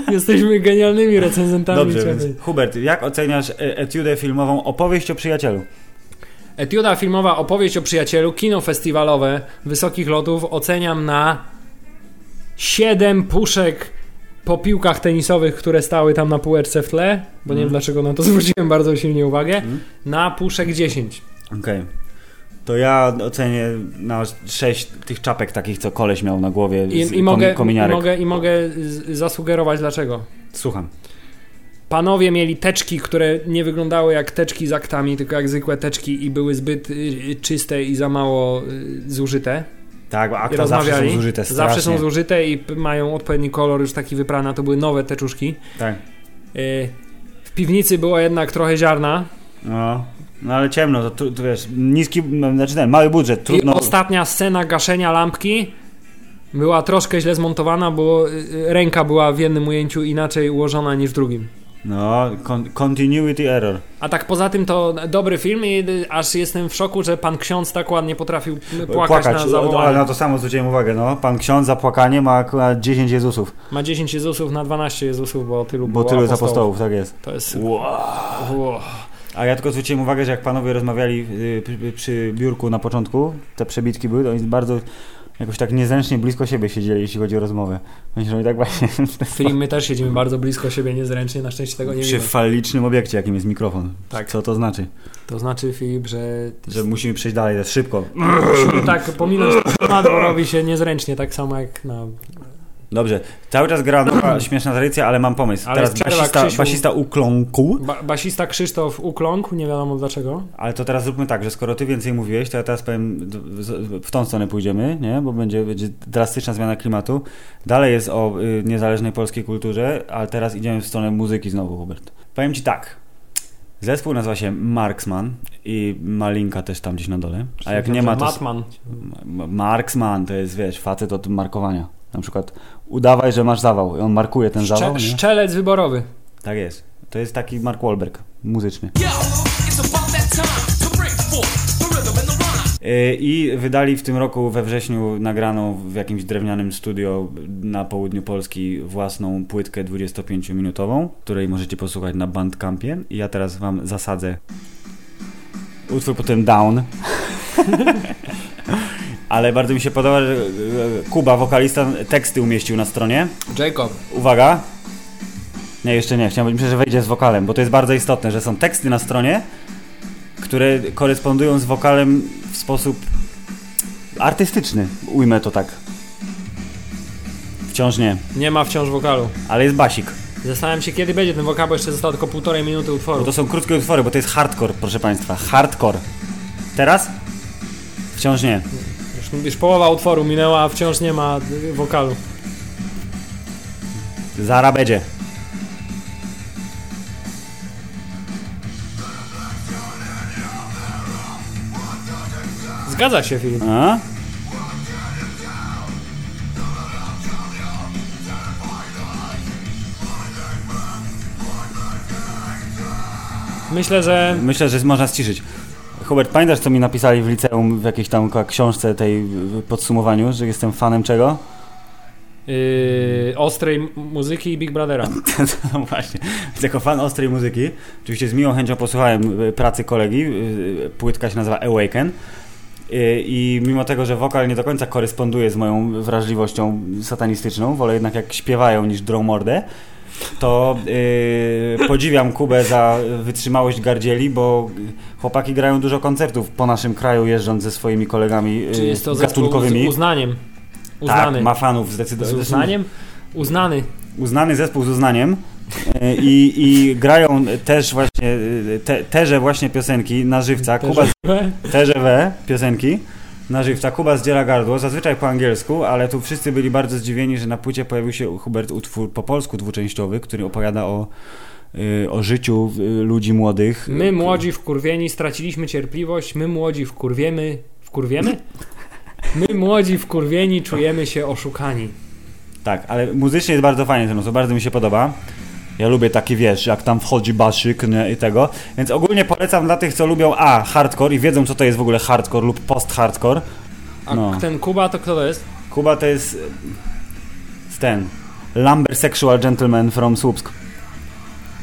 Speaker 2: Jesteśmy genialnymi recenzentami.
Speaker 1: Dobrze,
Speaker 2: czekaj.
Speaker 1: więc Hubert, jak oceniasz e, etiudę filmową Opowieść o przyjacielu?
Speaker 2: Etiuda filmowa opowieść o przyjacielu, kino festiwalowe Wysokich Lotów oceniam na 7 puszek po piłkach tenisowych, które stały tam na półeczce w tle, bo nie
Speaker 1: Mhm.
Speaker 2: wiem dlaczego na to zwróciłem bardzo silnie uwagę, na puszek 10.
Speaker 1: Okej. To ja ocenię na sześć tych czapek takich, co koleś miał na głowie
Speaker 2: I,
Speaker 1: z
Speaker 2: i, mogę, i,
Speaker 1: kominiarek.
Speaker 2: mogę, I mogę z- zasugerować dlaczego.
Speaker 1: Słucham.
Speaker 2: Panowie mieli teczki, które nie wyglądały jak teczki z aktami, tylko jak zwykłe teczki i były zbyt y, y, czyste i za mało y, zużyte.
Speaker 1: Tak, bo
Speaker 2: I
Speaker 1: akta zawsze
Speaker 2: rozmawiali.
Speaker 1: są zużyte strasznie.
Speaker 2: zawsze są zużyte i p- mają odpowiedni kolor, już taki wyprany, a to były nowe teczuszki.
Speaker 1: Tak.
Speaker 2: Y, W piwnicy było jednak trochę ziarna.
Speaker 1: No. no ale ciemno, to tu, tu wiesz, niski, no, znaczy ten, mały budżet, trudno.
Speaker 2: I ostatnia scena gaszenia lampki była troszkę źle zmontowana, bo y, y, ręka była w jednym ujęciu inaczej ułożona niż w drugim.
Speaker 1: No, con continuity error.
Speaker 2: A tak poza tym to dobry film i y, aż jestem w szoku, że pan ksiądz tak ładnie potrafił y, płakać, na
Speaker 1: o, no, ale
Speaker 2: zawołanie.
Speaker 1: na to samo zwróciłem uwagę, no. Pan ksiądz za płakanie ma akurat 10 Jezusów,
Speaker 2: Ma 10 Jezusów na 12 Jezusów, bo tylu
Speaker 1: bo
Speaker 2: było
Speaker 1: tylu jest
Speaker 2: apostołów.
Speaker 1: apostołów, tak jest.
Speaker 2: To jest... Ło.
Speaker 1: A ja tylko zwróciłem uwagę, że jak panowie rozmawiali y, przy, przy biurku na początku, te przebitki były, to oni bardzo jakoś tak niezręcznie blisko siebie siedzieli, jeśli chodzi o rozmowę. Myślę, że tak właśnie
Speaker 2: W chwili my też siedzimy bardzo blisko siebie niezręcznie, na szczęście tego nie
Speaker 1: przy
Speaker 2: widzimy.
Speaker 1: falicznym obiekcie, jakim jest mikrofon.
Speaker 2: Tak.
Speaker 1: Co to znaczy?
Speaker 2: To znaczy, Filip, że
Speaker 1: Że musimy przejść dalej, to jest szybko.
Speaker 2: tak pominąć temat, bo robi się niezręcznie, tak samo jak na
Speaker 1: Dobrze, cały czas gra nowa, śmieszna tradycja, ale mam pomysł.
Speaker 2: Ale
Speaker 1: Teraz
Speaker 2: jest przerwa,
Speaker 1: basista,
Speaker 2: Krzysiu.
Speaker 1: basista ukląkł.
Speaker 2: Ba basista Krzysztof ukląkł, nie wiadomo dlaczego.
Speaker 1: Ale to teraz zróbmy tak, że skoro ty więcej mówiłeś, to ja teraz powiem, d- z- w tą stronę pójdziemy, nie? bo będzie, będzie drastyczna zmiana klimatu. Dalej jest o y, niezależnej polskiej kulturze, ale teraz idziemy w stronę muzyki znowu, Hubert. Powiem ci tak. Zespół nazywa się Marksman i Malinka też tam gdzieś na dole. A jak nie ma, to... s-
Speaker 2: Matman.
Speaker 1: M- Marksman to jest, wiesz, facet od markowania. Na przykład udawaj, że masz zawał i on markuje ten zawał,
Speaker 2: Szcze
Speaker 1: nie?
Speaker 2: szczelec wyborowy.
Speaker 1: Tak jest. To jest taki Mark Wahlberg muzyczny. Y, I wydali w tym roku we wrześniu nagraną w jakimś drewnianym studio na południu Polski własną płytkę 25-minutową, której możecie posłuchać na Bandcampie. I ja teraz wam zasadzę utwór potem Down. Ale bardzo mi się podoba, że y, y, Kuba, wokalista, teksty umieścił na stronie.
Speaker 2: Jacob.
Speaker 1: Uwaga. Nie, jeszcze nie. Chciałem, myślę, że wejdzie z wokalem, bo to jest bardzo istotne, że są teksty na stronie, które korespondują z wokalem w sposób artystyczny. Ujmę to tak. Wciąż nie,
Speaker 2: Nie ma wciąż wokalu.
Speaker 1: ale jest basik.
Speaker 2: Zastanawiam się, kiedy będzie ten wokal, bo jeszcze zostało tylko półtorej minuty
Speaker 1: Bo
Speaker 2: utworu.
Speaker 1: to są krótkie utwory, bo to jest hardcore, proszę państwa. Hardcore. Teraz? Wciąż nie.
Speaker 2: Już, już połowa utworu minęła, a wciąż nie ma y, wokalu.
Speaker 1: Zara będzie.
Speaker 2: Zgadza się, Filip.
Speaker 1: A?
Speaker 2: Myślę, że
Speaker 1: Myślę, że można ściszyć. Hubert, pamiętasz, co mi napisali w liceum w jakiejś tam k- książce tej w- podsumowaniu, że jestem fanem czego?
Speaker 2: y, ostrej m- muzyki i Big Brothera.
Speaker 1: no właśnie, Więc jako fan ostrej muzyki, oczywiście z miłą chęcią posłuchałem y, pracy kolegi, y, płytka się nazywa Awaken Y, i mimo tego, że wokal nie do końca koresponduje z moją wrażliwością satanistyczną, wolę jednak jak śpiewają niż drą mordę, to y, podziwiam Kubę za wytrzymałość gardzieli, bo chłopaki grają dużo koncertów po naszym kraju, jeżdżąc ze swoimi kolegami
Speaker 2: Czy
Speaker 1: y,
Speaker 2: jest to zespół z
Speaker 1: gatunkowymi.
Speaker 2: uznaniem? Uznany.
Speaker 1: tak, ma fanów
Speaker 2: Z
Speaker 1: zdecydowanie.
Speaker 2: uznaniem? Uznany.
Speaker 1: uznany zespół z uznaniem e, i, i grają też właśnie e, te, terze właśnie piosenki na żywca. Kuba z, terze we piosenki na żywca. Kuba zdziera gardło, zazwyczaj po angielsku, ale tu wszyscy byli bardzo zdziwieni, że na płycie pojawił się Hubert utwór po polsku dwuczęściowy, który opowiada o e, o życiu e, ludzi młodych.
Speaker 2: My młodzi wkurwieni straciliśmy cierpliwość, my młodzi wkurwiemy. Wkurwiemy? My młodzi wkurwieni czujemy się oszukani.
Speaker 1: Tak, ale muzycznie jest bardzo fajnie ten utwór, bardzo mi się podoba. Ja lubię taki, wiesz, jak tam wchodzi baszyk nie, i tego. Więc ogólnie polecam dla tych, co lubią A, hardcore i wiedzą, co to jest w ogóle hardcore lub post-hardcore.
Speaker 2: A
Speaker 1: No.
Speaker 2: ten Kuba to kto to jest?
Speaker 1: Kuba to jest... e, ten... Lumber Sexual Gentleman from Słupsk.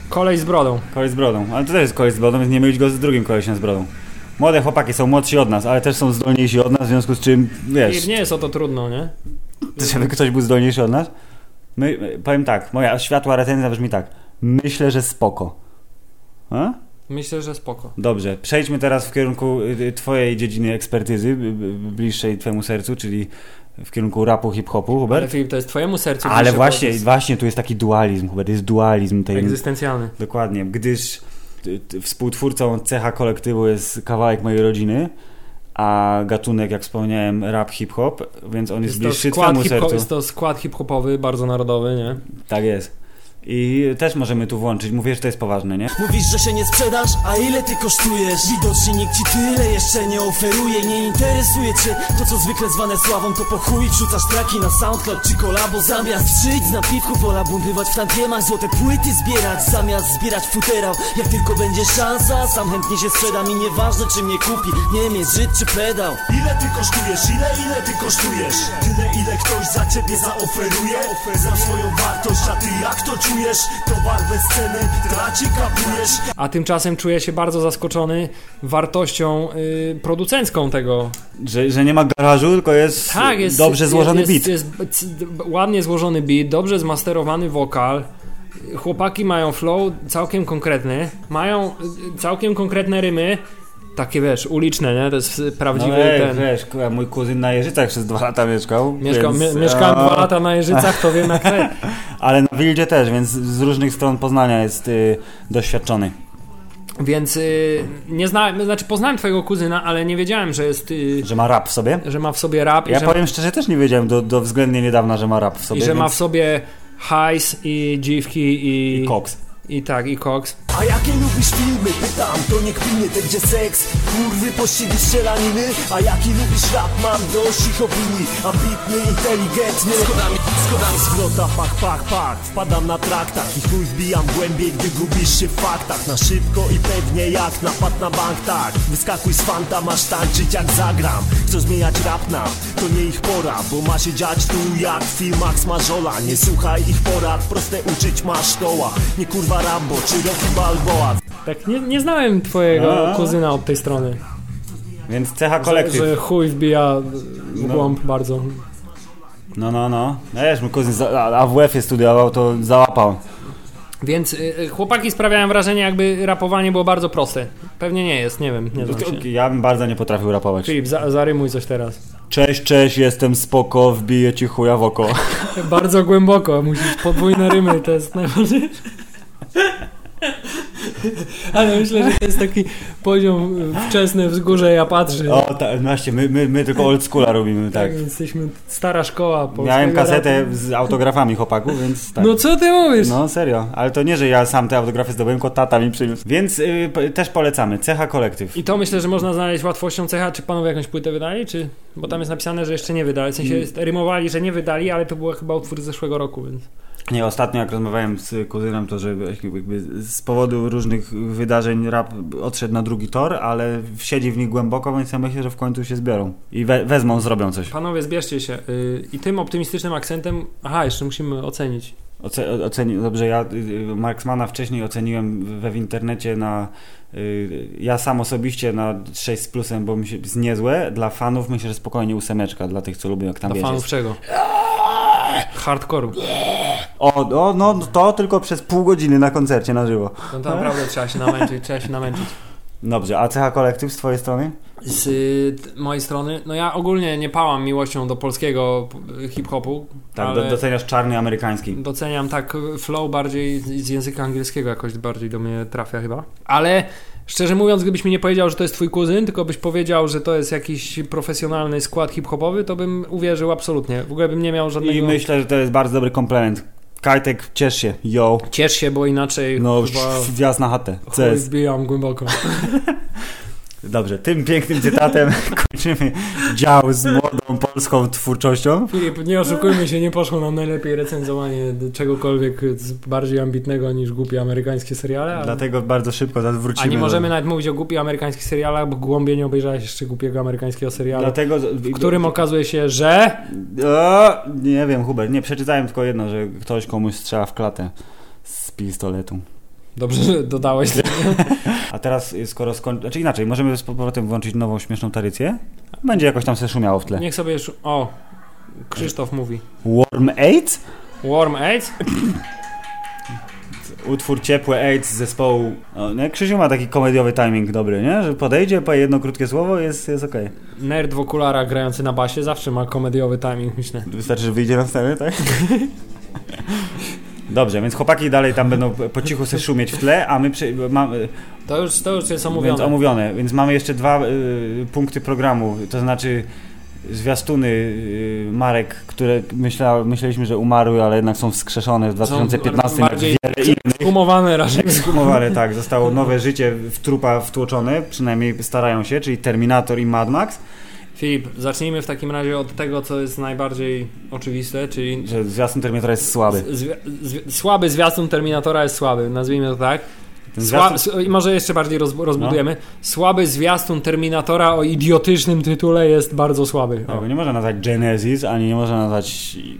Speaker 2: Kolej z brodą.
Speaker 1: Koleś z brodą, ale to też jest koleś z brodą, więc nie mylić go z drugim kolesiem z brodą. Młode chłopaki są młodsi od nas, ale też są zdolniejsi od nas, w związku z czym, wiesz,
Speaker 2: I nie jest o to trudno, nie?
Speaker 1: żeby ktoś był zdolniejszy od nas. My, powiem tak, moja światła recenzja brzmi tak. Myślę, że spoko. A?
Speaker 2: Myślę, że spoko.
Speaker 1: Dobrze, przejdźmy teraz w kierunku y, Twojej dziedziny ekspertyzy, y, y, bliższej Twojemu sercu, czyli w kierunku rapu, hip-hopu,
Speaker 2: Ale
Speaker 1: Hubert.
Speaker 2: Filip, to jest twojemu sercu.
Speaker 1: Tak? Ale
Speaker 2: bliższy
Speaker 1: właśnie,
Speaker 2: podest.
Speaker 1: właśnie tu jest taki dualizm, Hubert, jest dualizm tej...
Speaker 2: Egzystencjalny.
Speaker 1: Dokładnie, gdyż y, y, współtwórcą cecha kolektywu jest kawałek mojej rodziny, a gatunek, jak wspomniałem, rap, hip-hop, więc on jest,
Speaker 2: Jest to,
Speaker 1: bliższy
Speaker 2: skład
Speaker 1: Twojemu
Speaker 2: hip-hop,
Speaker 1: sercu.
Speaker 2: jest to skład hip-hopowy, bardzo narodowy, nie?
Speaker 1: Tak jest. I też możemy tu włączyć, mówię, że to jest poważne, nie?
Speaker 6: Mówisz, że się nie sprzedasz, a ile ty kosztujesz? Widocznie nikt ci tyle jeszcze nie oferuje Nie interesuje cię to, co zwykle zwane sławą To po chuj wrzucasz traki na SoundCloud czy kolabo Zamiast żyć z napiwku, pola bundywać w tantiemach Złote płyty zbierać, zamiast zbierać futerał Jak tylko będzie szansa, sam chętnie się sprzedam I nieważne, czy mnie kupi Niemiec, Żyd czy pedał
Speaker 7: Ile ty kosztujesz, ile, ile ty kosztujesz Tyle ile ktoś za ciebie zaoferuje Znam swoją wartość, a ty jak to czujesz Towar bez ceny, traci kapujesz
Speaker 2: A tymczasem czuję się bardzo zaskoczony wartością y, producencką tego.
Speaker 1: Że, że nie ma garażu, tylko jest,
Speaker 2: Tak, jest
Speaker 1: dobrze złożony
Speaker 2: jest,
Speaker 1: beat.
Speaker 2: Jest, jest c- d- ładnie złożony beat, dobrze zmasterowany wokal. Chłopaki mają flow całkiem konkretny, mają y, całkiem konkretne rymy. Takie wiesz, uliczne, nie? To jest y, prawdziwy
Speaker 1: No ej,
Speaker 2: ten.
Speaker 1: wiesz, kurwa, mój kuzyn na Jeżycach przez dwa lata mieszkał.
Speaker 2: Mieszkam,
Speaker 1: więc,
Speaker 2: mie- mieszkałem
Speaker 1: a,
Speaker 2: dwa lata na E. Jeżycach, to wiem jak te.
Speaker 1: Ale na Wildzie też, więc z różnych stron Poznania jest y, doświadczony.
Speaker 2: Więc y, nie znałem, znaczy poznałem twojego kuzyna, ale nie wiedziałem, że jest, y,
Speaker 1: Że ma rap w sobie.
Speaker 2: że ma w sobie rap i
Speaker 1: Ja
Speaker 2: że
Speaker 1: powiem szczerze, też nie wiedziałem do, do względnie niedawna, że ma rap w sobie.
Speaker 2: I że ma w
Speaker 1: więc...
Speaker 2: sobie hajs i dziwki i...
Speaker 1: I koks.
Speaker 2: I tak, i koks.
Speaker 6: A jakie lubisz filmy? Pytam, to nie kpinie te, gdzie seks, kurwy, pościgi, strzelaniny A jaki lubisz rap? Mam dość ich opinii Ambitny, inteligentny Skodami, skodami Zwrota, pach, pach, pach Wpadam na trak, taki chuj wbijam głębiej, gdy gubisz się w faktach tak Na szybko i pewnie jak napad na bank, tak Wyskakuj z fanta, masz tańczyć jak zagram Chcą zmieniać rap na, to nie ich pora Bo ma się dziać tu jak w filmach z Marzola Nie słuchaj ich porad, proste uczyć masz szkoła Nie kurwa Rambo czy Rocky Balboa
Speaker 2: Tak, nie, nie znałem twojego
Speaker 1: A. Tak.
Speaker 2: kuzyna od tej strony.
Speaker 1: Więc cecha kolektyw.
Speaker 2: Że chuj wbija w głąb bardzo.
Speaker 1: No, no, no. No wiesz, mój kuzyn za- a- AWF-ie studiował, to załapał.
Speaker 2: Więc y, y, chłopaki sprawiają wrażenie, jakby rapowanie było bardzo proste. Pewnie nie jest, nie wiem, nie znam się.
Speaker 1: Ja bym bardzo nie potrafił rapować.
Speaker 2: Filip, za, zarymuj coś teraz.
Speaker 1: Cześć, cześć, jestem spoko, wbiję ci chuja w oko.
Speaker 2: Bardzo głęboko, musisz podwójne rymy, to jest najważniejsze. Ale myślę, że to jest taki poziom wczesny, wzgórze ja patrzę.
Speaker 1: O, tak, właśnie, my, my, my tylko old schoola robimy, tak.
Speaker 2: Tak, więc jesteśmy stara szkoła polskiego
Speaker 1: Miałem kasetę
Speaker 2: rapu.
Speaker 1: z autografami chłopaków, więc tak.
Speaker 2: No co ty mówisz?
Speaker 1: No serio, ale to nie, że ja sam te autografy zdobyłem, tylko tata mi przyniósł. Więc y, p- też polecamy, cecha kolektyw.
Speaker 2: I to myślę, że można znaleźć łatwością cecha, czy panowie jakąś płytę wydali, czy... Bo tam jest napisane, że jeszcze nie wydali, w sensie
Speaker 1: Mm.
Speaker 2: jest, rymowali, że nie wydali, ale to był chyba utwór z zeszłego roku, więc...
Speaker 1: Nie, ostatnio jak rozmawiałem z kuzynem, to że jakby z powodu różnych wydarzeń rap odszedł na drugi tor, ale siedzi w nich głęboko, więc ja myślę, że w końcu się zbiorą. I we, wezmą, zrobią coś.
Speaker 2: Panowie, zbierzcie się. y, I tym optymistycznym akcentem... Aha, jeszcze musimy ocenić.
Speaker 1: Oce, o- oceni, dobrze, ja y, y, Marksmana wcześniej oceniłem we w internecie na. y, Ja sam osobiście na 6 z plusem, bo mi się jest niezłe. Dla fanów myślę, że spokojnie ósemeczka, dla tych, co lubią, jak tam
Speaker 2: Dla fanów
Speaker 1: wiecie.
Speaker 2: czego? Hardcore'u.
Speaker 1: O, o, no to tylko przez pół godziny na koncercie na żywo.
Speaker 2: No to naprawdę trzeba się namęczyć, trzeba się namęczyć.
Speaker 1: Dobrze, a CH Kolektyw z twojej strony?
Speaker 2: Z y, t- mojej strony, no ja ogólnie nie pałam miłością do polskiego y, hip-hopu,
Speaker 1: Tak,
Speaker 2: ale...
Speaker 1: do, doceniasz czarny amerykański.
Speaker 2: Doceniam tak flow bardziej z z języka angielskiego jakoś bardziej do mnie trafia chyba. Ale szczerze mówiąc, gdybyś mi nie powiedział, że to jest twój kuzyn, tylko byś powiedział, że to jest jakiś profesjonalny skład hip-hopowy, to bym uwierzył absolutnie. W ogóle bym nie miał żadnego...
Speaker 1: I myślę, że to jest bardzo dobry komplement. Kajtek, ciesz się, yo.
Speaker 2: Ciesz się, bo inaczej
Speaker 1: No,
Speaker 2: chyba...
Speaker 1: wjazd na chatę.
Speaker 2: Chuj,
Speaker 1: CS.
Speaker 2: wbijam głęboko.
Speaker 1: Dobrze, tym pięknym cytatem kończymy dział z młodą polską twórczością.
Speaker 2: Filip, nie oszukujmy się, nie poszło nam najlepiej recenzowanie czegokolwiek z- bardziej ambitnego niż głupie amerykańskie seriale, ale...
Speaker 1: Dlatego bardzo szybko teraz wrócimy.
Speaker 2: A nie
Speaker 1: do-
Speaker 2: możemy nawet mówić o głupich amerykańskich serialach, bo głębiej nie obejrzałeś jeszcze głupiego amerykańskiego serialu.
Speaker 1: Dlatego.
Speaker 2: W którym okazuje się, że
Speaker 1: O, nie wiem, Hubert, nie przeczytałem tylko jedno, że ktoś komuś strzela w klatę z pistoletu.
Speaker 2: Dobrze, że dodałeś.
Speaker 1: A teraz, y, skoro skończy. Znaczy inaczej, możemy z powrotem włączyć nową śmieszną tradycję? Będzie jakoś tam się szumiało w tle.
Speaker 2: Niech sobie już. O, Krzysztof mówi.
Speaker 1: Warm Eight?
Speaker 2: Warm AIDS?
Speaker 1: Utwór Ciepłe AIDS z zespołu... O, nie? Krzysiu ma taki komediowy timing dobry, nie? Że podejdzie, powie jedno krótkie słowo, jest, jest okej.
Speaker 2: Nerd w okularach grający na basie zawsze ma komediowy timing, myślę.
Speaker 1: Wystarczy, że wyjdzie na scenę, tak? Dobrze, więc chłopaki dalej tam będą po cichu se szumieć w tle, a my przy, mamy,
Speaker 2: To już, to już jest
Speaker 1: Więc
Speaker 2: omówione.
Speaker 1: omówione, więc mamy jeszcze dwa y, punkty programu, to znaczy zwiastuny y, marek, które myśla, myśleliśmy, że umarły, ale jednak są wskrzeszone w 2015 roku.
Speaker 2: bardziej Gumowane raczej.
Speaker 1: Skumowane, tak, zostało nowe życie w trupa wtłoczone, przynajmniej starają się, czyli Terminator i Mad Max,
Speaker 2: Filip, zacznijmy w takim razie od tego, co jest najbardziej oczywiste, czyli
Speaker 1: że zwiastun Terminatora jest słaby.
Speaker 2: zwi zwi słaby zwiastun Terminatora jest słaby, nazwijmy to tak.
Speaker 1: Ten
Speaker 2: Sła
Speaker 1: zwiastun- No.
Speaker 2: s- i może jeszcze bardziej roz rozbudujemy. Słaby zwiastun Terminatora o idiotycznym tytule jest bardzo słaby.
Speaker 1: Tego
Speaker 2: O.
Speaker 1: No. nie można nazwać Genesis, ani nie można nazwać i-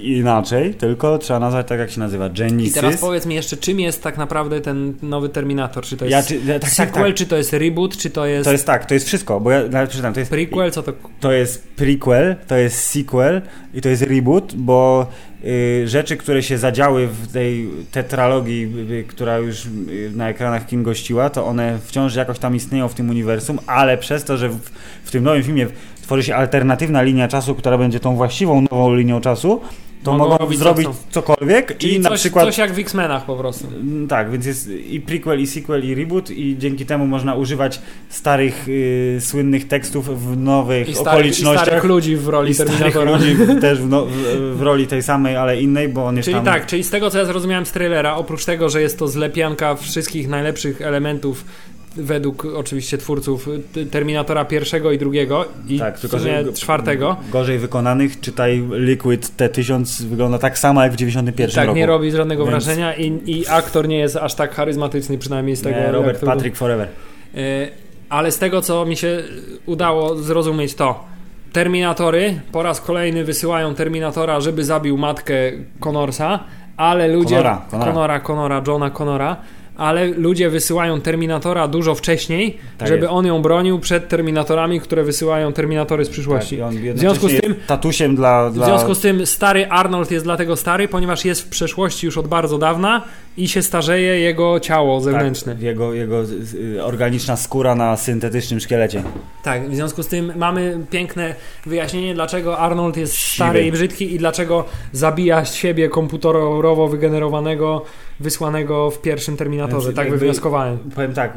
Speaker 1: inaczej, tylko trzeba nazwać tak, jak się nazywa, Genesis.
Speaker 2: I teraz powiedz mi jeszcze, czym jest tak naprawdę ten nowy Terminator? Czy to jest
Speaker 1: Ja czy- tak, tak,
Speaker 2: sequel,
Speaker 1: tak.
Speaker 2: czy to jest reboot, czy to jest,
Speaker 1: To jest tak, to jest wszystko, bo ja nawet przeczytam, to jest
Speaker 2: prequel, co to...
Speaker 1: To jest prequel, to jest sequel i to jest reboot, bo y, rzeczy, które się zadziały w tej tetralogii, y, która już y, na ekranach kin gościła, to one wciąż jakoś tam istnieją w tym uniwersum, ale przez to, że w, w tym nowym filmie tworzy się alternatywna linia czasu, która będzie tą właściwą nową linią czasu, to
Speaker 2: Mogą
Speaker 1: mogą,
Speaker 2: robić co
Speaker 1: zrobić
Speaker 2: chcą.
Speaker 1: cokolwiek
Speaker 2: Czyli
Speaker 1: i
Speaker 2: coś,
Speaker 1: na przykład
Speaker 2: coś jak w X-Menach po prostu.
Speaker 1: Mm, Tak, więc jest i prequel, i sequel, i reboot, i dzięki temu można używać starych, y, słynnych tekstów w nowych
Speaker 2: I starych, i
Speaker 1: okolicznościach.
Speaker 2: starych ludzi w roli
Speaker 1: I starych
Speaker 2: Terminatora.
Speaker 1: ludzi w- też w, no, w, w roli tej samej, ale innej, bo on jest
Speaker 2: Czyli
Speaker 1: tam...
Speaker 2: tak, czyli z tego co ja zrozumiałem z trailera, oprócz tego, że jest to zlepianka wszystkich najlepszych elementów według oczywiście twórców y, Terminatora pierwszego i drugiego i
Speaker 1: Tak, tylko
Speaker 2: w sumie
Speaker 1: że-
Speaker 2: czwartego.
Speaker 1: Gorzej wykonanych, czytaj Liquid T1000 wygląda tak samo jak w 91
Speaker 2: Tak,
Speaker 1: roku.
Speaker 2: nie robi żadnego
Speaker 1: Więc- e,
Speaker 2: wrażenia i, i aktor nie jest aż tak charyzmatyczny, przynajmniej z tego
Speaker 1: Nie, Robert
Speaker 2: jak to
Speaker 1: Patrick Forever.
Speaker 2: Y, Ale z tego, co mi się udało zrozumieć, to Terminatory po raz kolejny wysyłają Terminatora, żeby zabił matkę Connorsa, ale ludzie.
Speaker 1: Connora, Connora.
Speaker 2: Connora, Connora, Johna Connora. Ale ludzie wysyłają Terminatora dużo wcześniej,
Speaker 1: Tak
Speaker 2: żeby
Speaker 1: jest.
Speaker 2: on ją bronił przed Terminatorami, które wysyłają Terminatory z przyszłości.
Speaker 1: Tak, I on
Speaker 2: w związku z
Speaker 1: jednocześnie
Speaker 2: tym,
Speaker 1: jest tatusiem dla...
Speaker 2: w
Speaker 1: dla...
Speaker 2: związku z tym stary Arnold jest dlatego stary, ponieważ jest w przeszłości już od bardzo dawna i się starzeje jego ciało zewnętrzne.
Speaker 1: tak, jego, jego z- z- organiczna skóra na syntetycznym szkielecie.
Speaker 2: Tak, w związku z tym mamy piękne wyjaśnienie, dlaczego Arnold jest stary
Speaker 1: Siwy.
Speaker 2: i brzydki i dlaczego zabija siebie komputerowo wygenerowanego, wysłanego w pierwszym Terminatorze.
Speaker 1: Więc
Speaker 2: Tak
Speaker 1: jakby-
Speaker 2: wywnioskowałem.
Speaker 1: Powiem tak,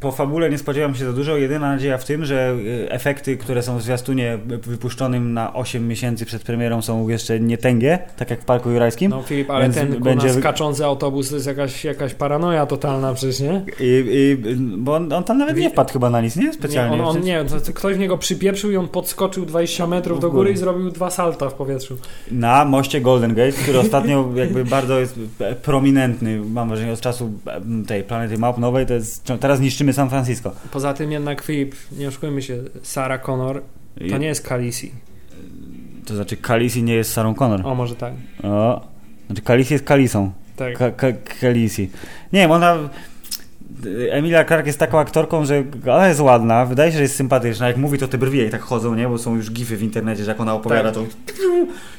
Speaker 1: po fabule nie spodziewam się za dużo. Jedyna nadzieja w tym, że y, efekty, które są w zwiastunie wypuszczonym na 8 miesięcy przed premierą są jeszcze nie tęgie, tak jak w Parku Jurajskim.
Speaker 2: No Filip, ale
Speaker 1: Więc
Speaker 2: ten
Speaker 1: będzie-
Speaker 2: będzie... skaczący autobus to jest jakaś, jakaś paranoja totalna przecież, nie?
Speaker 1: I, i, bo on, on tam nawet nie wpadł chyba na nic, nie?
Speaker 2: nie
Speaker 1: Specjalnie.
Speaker 2: on, on, nie, to, to ktoś w niego przypieprzył i on podskoczył 20 metrów do góry i zrobił dwa salta w powietrzu.
Speaker 1: Na moście Golden Gate, który ostatnio jakby bardzo jest e, prominentny, mam wrażenie, od czasu e, tej planety map nowej, to jest, no, teraz niszczymy San Francisco.
Speaker 2: Poza tym jednak Filip, nie oszukujmy się, Sarah Connor to nie jest Khaleesi.
Speaker 1: to znaczy Kalisi nie jest Sarą Connor.
Speaker 2: O, może tak.
Speaker 1: O. Znaczy Kalisi jest Kalisą.
Speaker 2: tak.
Speaker 1: Ka- Ka- Khaleesi. Nie wiem, ona. Emilia Clark jest taką aktorką, że ona jest ładna, wydaje się, że jest sympatyczna. Jak mówi, to te brwi jej tak chodzą, nie? Bo są już gify w internecie, że jak ona opowiada, to
Speaker 2: Tak.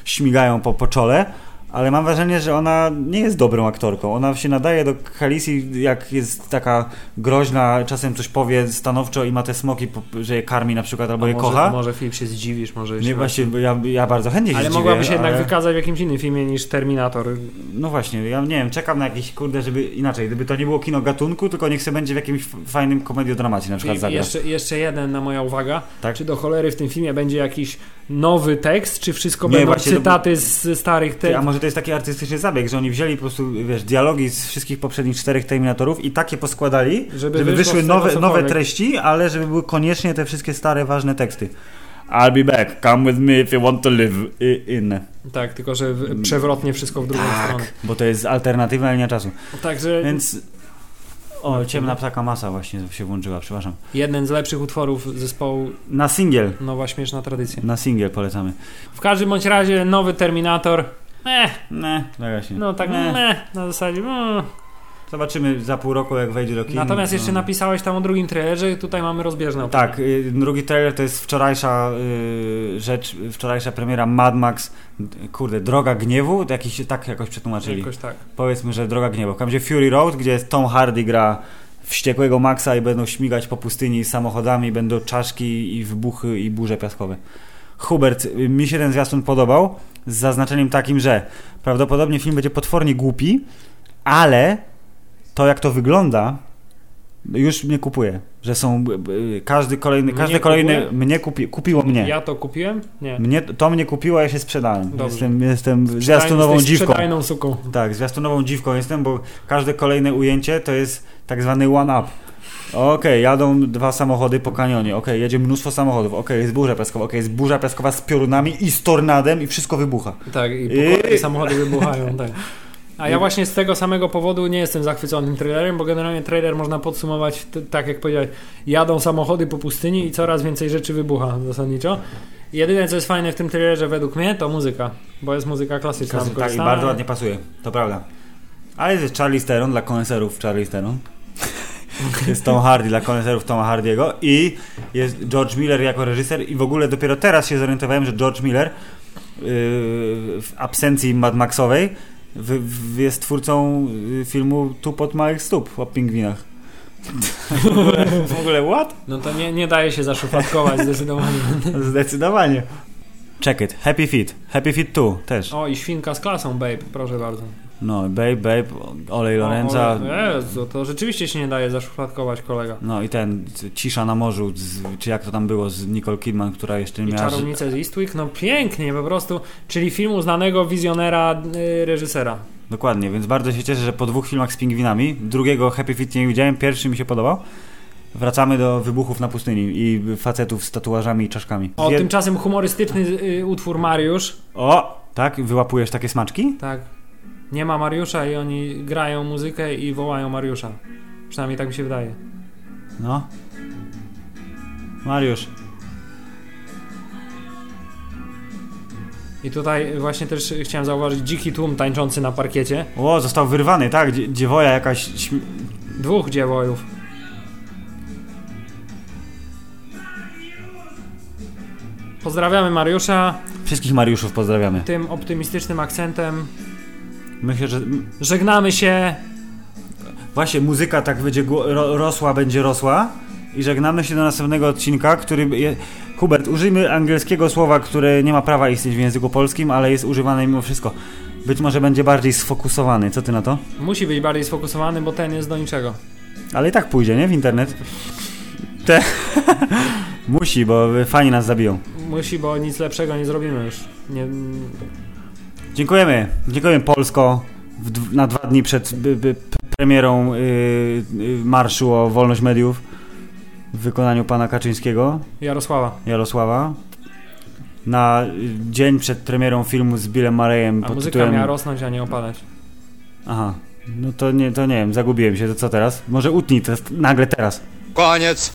Speaker 1: śmigają po, po czole. Ale mam wrażenie, że ona nie jest dobrą aktorką. Ona się nadaje do Khaleesi, jak jest taka groźna, czasem coś powie stanowczo i ma te smoki, po- że je karmi na przykład albo je
Speaker 2: może,
Speaker 1: kocha.
Speaker 2: Może Filip się zdziwisz, może
Speaker 1: Nie, właśnie, bo ja, ja bardzo chętnie się
Speaker 2: Ale
Speaker 1: zdziwię,
Speaker 2: mogłaby się jednak
Speaker 1: ale-
Speaker 2: wykazać w jakimś innym filmie niż Terminator.
Speaker 1: No właśnie, ja nie wiem, czekam na jakieś, kurde, żeby inaczej, gdyby to nie było kino gatunku, tylko niech se będzie w jakimś f- fajnym komediodramacie na przykład
Speaker 2: I
Speaker 1: zagra.
Speaker 2: jeszcze, jeszcze jeden na moja uwaga.
Speaker 1: Tak?
Speaker 2: Czy do cholery w tym filmie będzie jakiś nowy tekst, czy wszystko
Speaker 1: Nie,
Speaker 2: będą
Speaker 1: właśnie,
Speaker 2: cytaty z starych
Speaker 1: Ty, a
Speaker 2: tekstów?
Speaker 1: może to jest taki artystyczny zabieg, że oni wzięli po prostu, wiesz, dialogi z wszystkich poprzednich czterech Terminatorów i takie poskładali,
Speaker 2: Żeby
Speaker 1: żeby,
Speaker 2: wyszło
Speaker 1: wyszły
Speaker 2: z tego
Speaker 1: nowe,
Speaker 2: cokolwiek.
Speaker 1: nowe treści, ale żeby były koniecznie te wszystkie stare, ważne teksty. I'll be back, come with me if you want to live I- in.
Speaker 2: Tak, tylko że w, przewrotnie wszystko w drugą stronę.
Speaker 1: Bo to jest alternatywna linia czasu.
Speaker 2: Także
Speaker 1: Tak. Więc... O, ciemna ptaka masa właśnie się włączyła, przepraszam.
Speaker 2: jeden z lepszych utworów zespołu
Speaker 1: Na singiel,
Speaker 2: Nowa Śmieszna Tradycja.
Speaker 1: na singiel polecamy.
Speaker 2: W każdym bądź razie nowy Terminator. Eh,
Speaker 1: Ne, tak właśnie.
Speaker 2: no tak
Speaker 1: Ne.
Speaker 2: meh, na zasadzie mm,
Speaker 1: Zobaczymy za pół roku, jak wejdzie do kin.
Speaker 2: Natomiast jeszcze
Speaker 1: No.
Speaker 2: napisałeś tam o drugim trailerze, tutaj mamy rozbieżne opinie.
Speaker 1: Tak, y, drugi trailer to jest wczorajsza y, rzecz, wczorajsza premiera Mad Max, d- kurde, Droga Gniewu, jakiś, tak jakoś przetłumaczyli.
Speaker 2: Jakoś tak.
Speaker 1: Powiedzmy, że Droga Gniewu. Tam gdzie Fury Road, gdzie Tom Hardy gra wściekłego Maxa i będą śmigać po pustyni samochodami, będą czaszki i wybuchy i burze piaskowe. Hubert, y, mi się ten zwiastun podobał, z zaznaczeniem takim, że prawdopodobnie film będzie potwornie głupi, ale to jak to wygląda, już mnie kupuje, że są b- b- każdy kolejny,
Speaker 2: Mnie
Speaker 1: każde kolejne
Speaker 2: kupuje?
Speaker 1: mnie kupi, kupiło mnie.
Speaker 2: Ja to kupiłem? Nie.
Speaker 1: Mnie, to mnie kupiło, ja się sprzedałem.
Speaker 2: Dobrze.
Speaker 1: Jestem, jestem zwiastunową
Speaker 2: Jesteś
Speaker 1: dziwką.
Speaker 2: sprzedajną suką.
Speaker 1: Tak, zwiastunową dziwką jestem, bo każde kolejne ujęcie to jest tak zwany one-up. Okej, jadą dwa samochody po kanionie, okej, jedzie mnóstwo samochodów, okej, jest burza piaskowa, okej, jest burza piaskowa z piorunami i z tornadem i wszystko wybucha.
Speaker 2: Tak, i po
Speaker 1: I-
Speaker 2: kolei samochody wybuchają, tak. A ja właśnie z tego samego powodu nie jestem zachwycony tym trailerem, bo generalnie trailer można podsumować t- tak jak powiedziałeś, jadą samochody po pustyni i coraz więcej rzeczy wybucha zasadniczo. Jedyne co jest fajne w tym trailerze według mnie to muzyka, bo jest muzyka klasyczna.
Speaker 1: tak, i
Speaker 2: wykorzystana.
Speaker 1: bardzo ładnie pasuje, to prawda. Ale jest Charlie Steron dla koneserów Charlie Steron. Jest Tom Hardy dla koneserów Toma Hardiego i jest George Miller jako reżyser i w ogóle dopiero teraz się zorientowałem, że George Miller yy, w absencji Mad Maxowej w, w, jest twórcą y, filmu Tu pod małych stóp o pingwinach. w, ogóle, w ogóle what?
Speaker 2: No to nie, nie daje się zaszufladkować zdecydowanie.
Speaker 1: Zdecydowanie. Check it. Happy Feet. Happy Feet 2 też.
Speaker 2: O i świnka z klasą, babe, proszę bardzo.
Speaker 1: No, Babe, Babe, Olej Lorenza.
Speaker 2: O, o, Jezu, to rzeczywiście się nie daje zaszufladkować kolega.
Speaker 1: No i ten c- cisza na morzu, z, czy jak to tam było z Nicole Kidman, która jeszcze nie
Speaker 2: I
Speaker 1: miała.
Speaker 2: Czarownice z Eastwick, no pięknie po prostu, czyli filmu znanego wizjonera, y, reżysera.
Speaker 1: Dokładnie, więc bardzo się cieszę, że po dwóch filmach z pingwinami, drugiego Happy Feet nie widziałem, pierwszy mi się podobał. Wracamy do wybuchów na pustyni i facetów z tatuażami i czaszkami.
Speaker 2: O,
Speaker 1: Wie-
Speaker 2: tymczasem humorystyczny y, utwór Mariusz,
Speaker 1: o tak, wyłapujesz takie smaczki?
Speaker 2: tak, nie ma Mariusza i oni grają muzykę i wołają Mariusza. Przynajmniej tak mi się wydaje.
Speaker 1: No. Mariusz.
Speaker 2: I tutaj właśnie też chciałem zauważyć dziki tłum tańczący na parkiecie.
Speaker 1: O, został wyrwany, tak, dzie- dziewoja jakaś... Śm-
Speaker 2: Dwóch dziewojów. Pozdrawiamy Mariusza
Speaker 1: Wszystkich Mariuszów pozdrawiamy.
Speaker 2: tym optymistycznym akcentem.
Speaker 1: Myślę, że m-
Speaker 2: Żegnamy się.
Speaker 1: Właśnie, muzyka tak będzie gło- ro- rosła, będzie rosła. I żegnamy się do następnego odcinka, który. Je... Hubert, użyjmy angielskiego słowa, które nie ma prawa istnieć w języku polskim, ale jest używane mimo wszystko. Być może będzie bardziej sfokusowany, co ty na to?
Speaker 2: Musi być bardziej sfokusowany, bo ten jest do niczego.
Speaker 1: Ale i tak pójdzie, nie? W internet. Te... Musi, bo fani nas zabiją.
Speaker 2: Musi, bo nic lepszego nie zrobimy już. Nie...
Speaker 1: Dziękujemy. Dziękujemy Polsko w dw- na dwa dni przed by, by, p- premierą y, y, marszu o wolność mediów w wykonaniu pana Kaczyńskiego.
Speaker 2: Jarosława.
Speaker 1: Jarosława na y, dzień przed premierą filmu z Billem Marejem
Speaker 2: A
Speaker 1: pod
Speaker 2: muzyka
Speaker 1: tytułem...
Speaker 2: miała rosnąć, a nie opadać.
Speaker 1: Aha, no to nie, to nie wiem, zagubiłem się, to co teraz? Może utnij to nagle teraz.
Speaker 8: Koniec.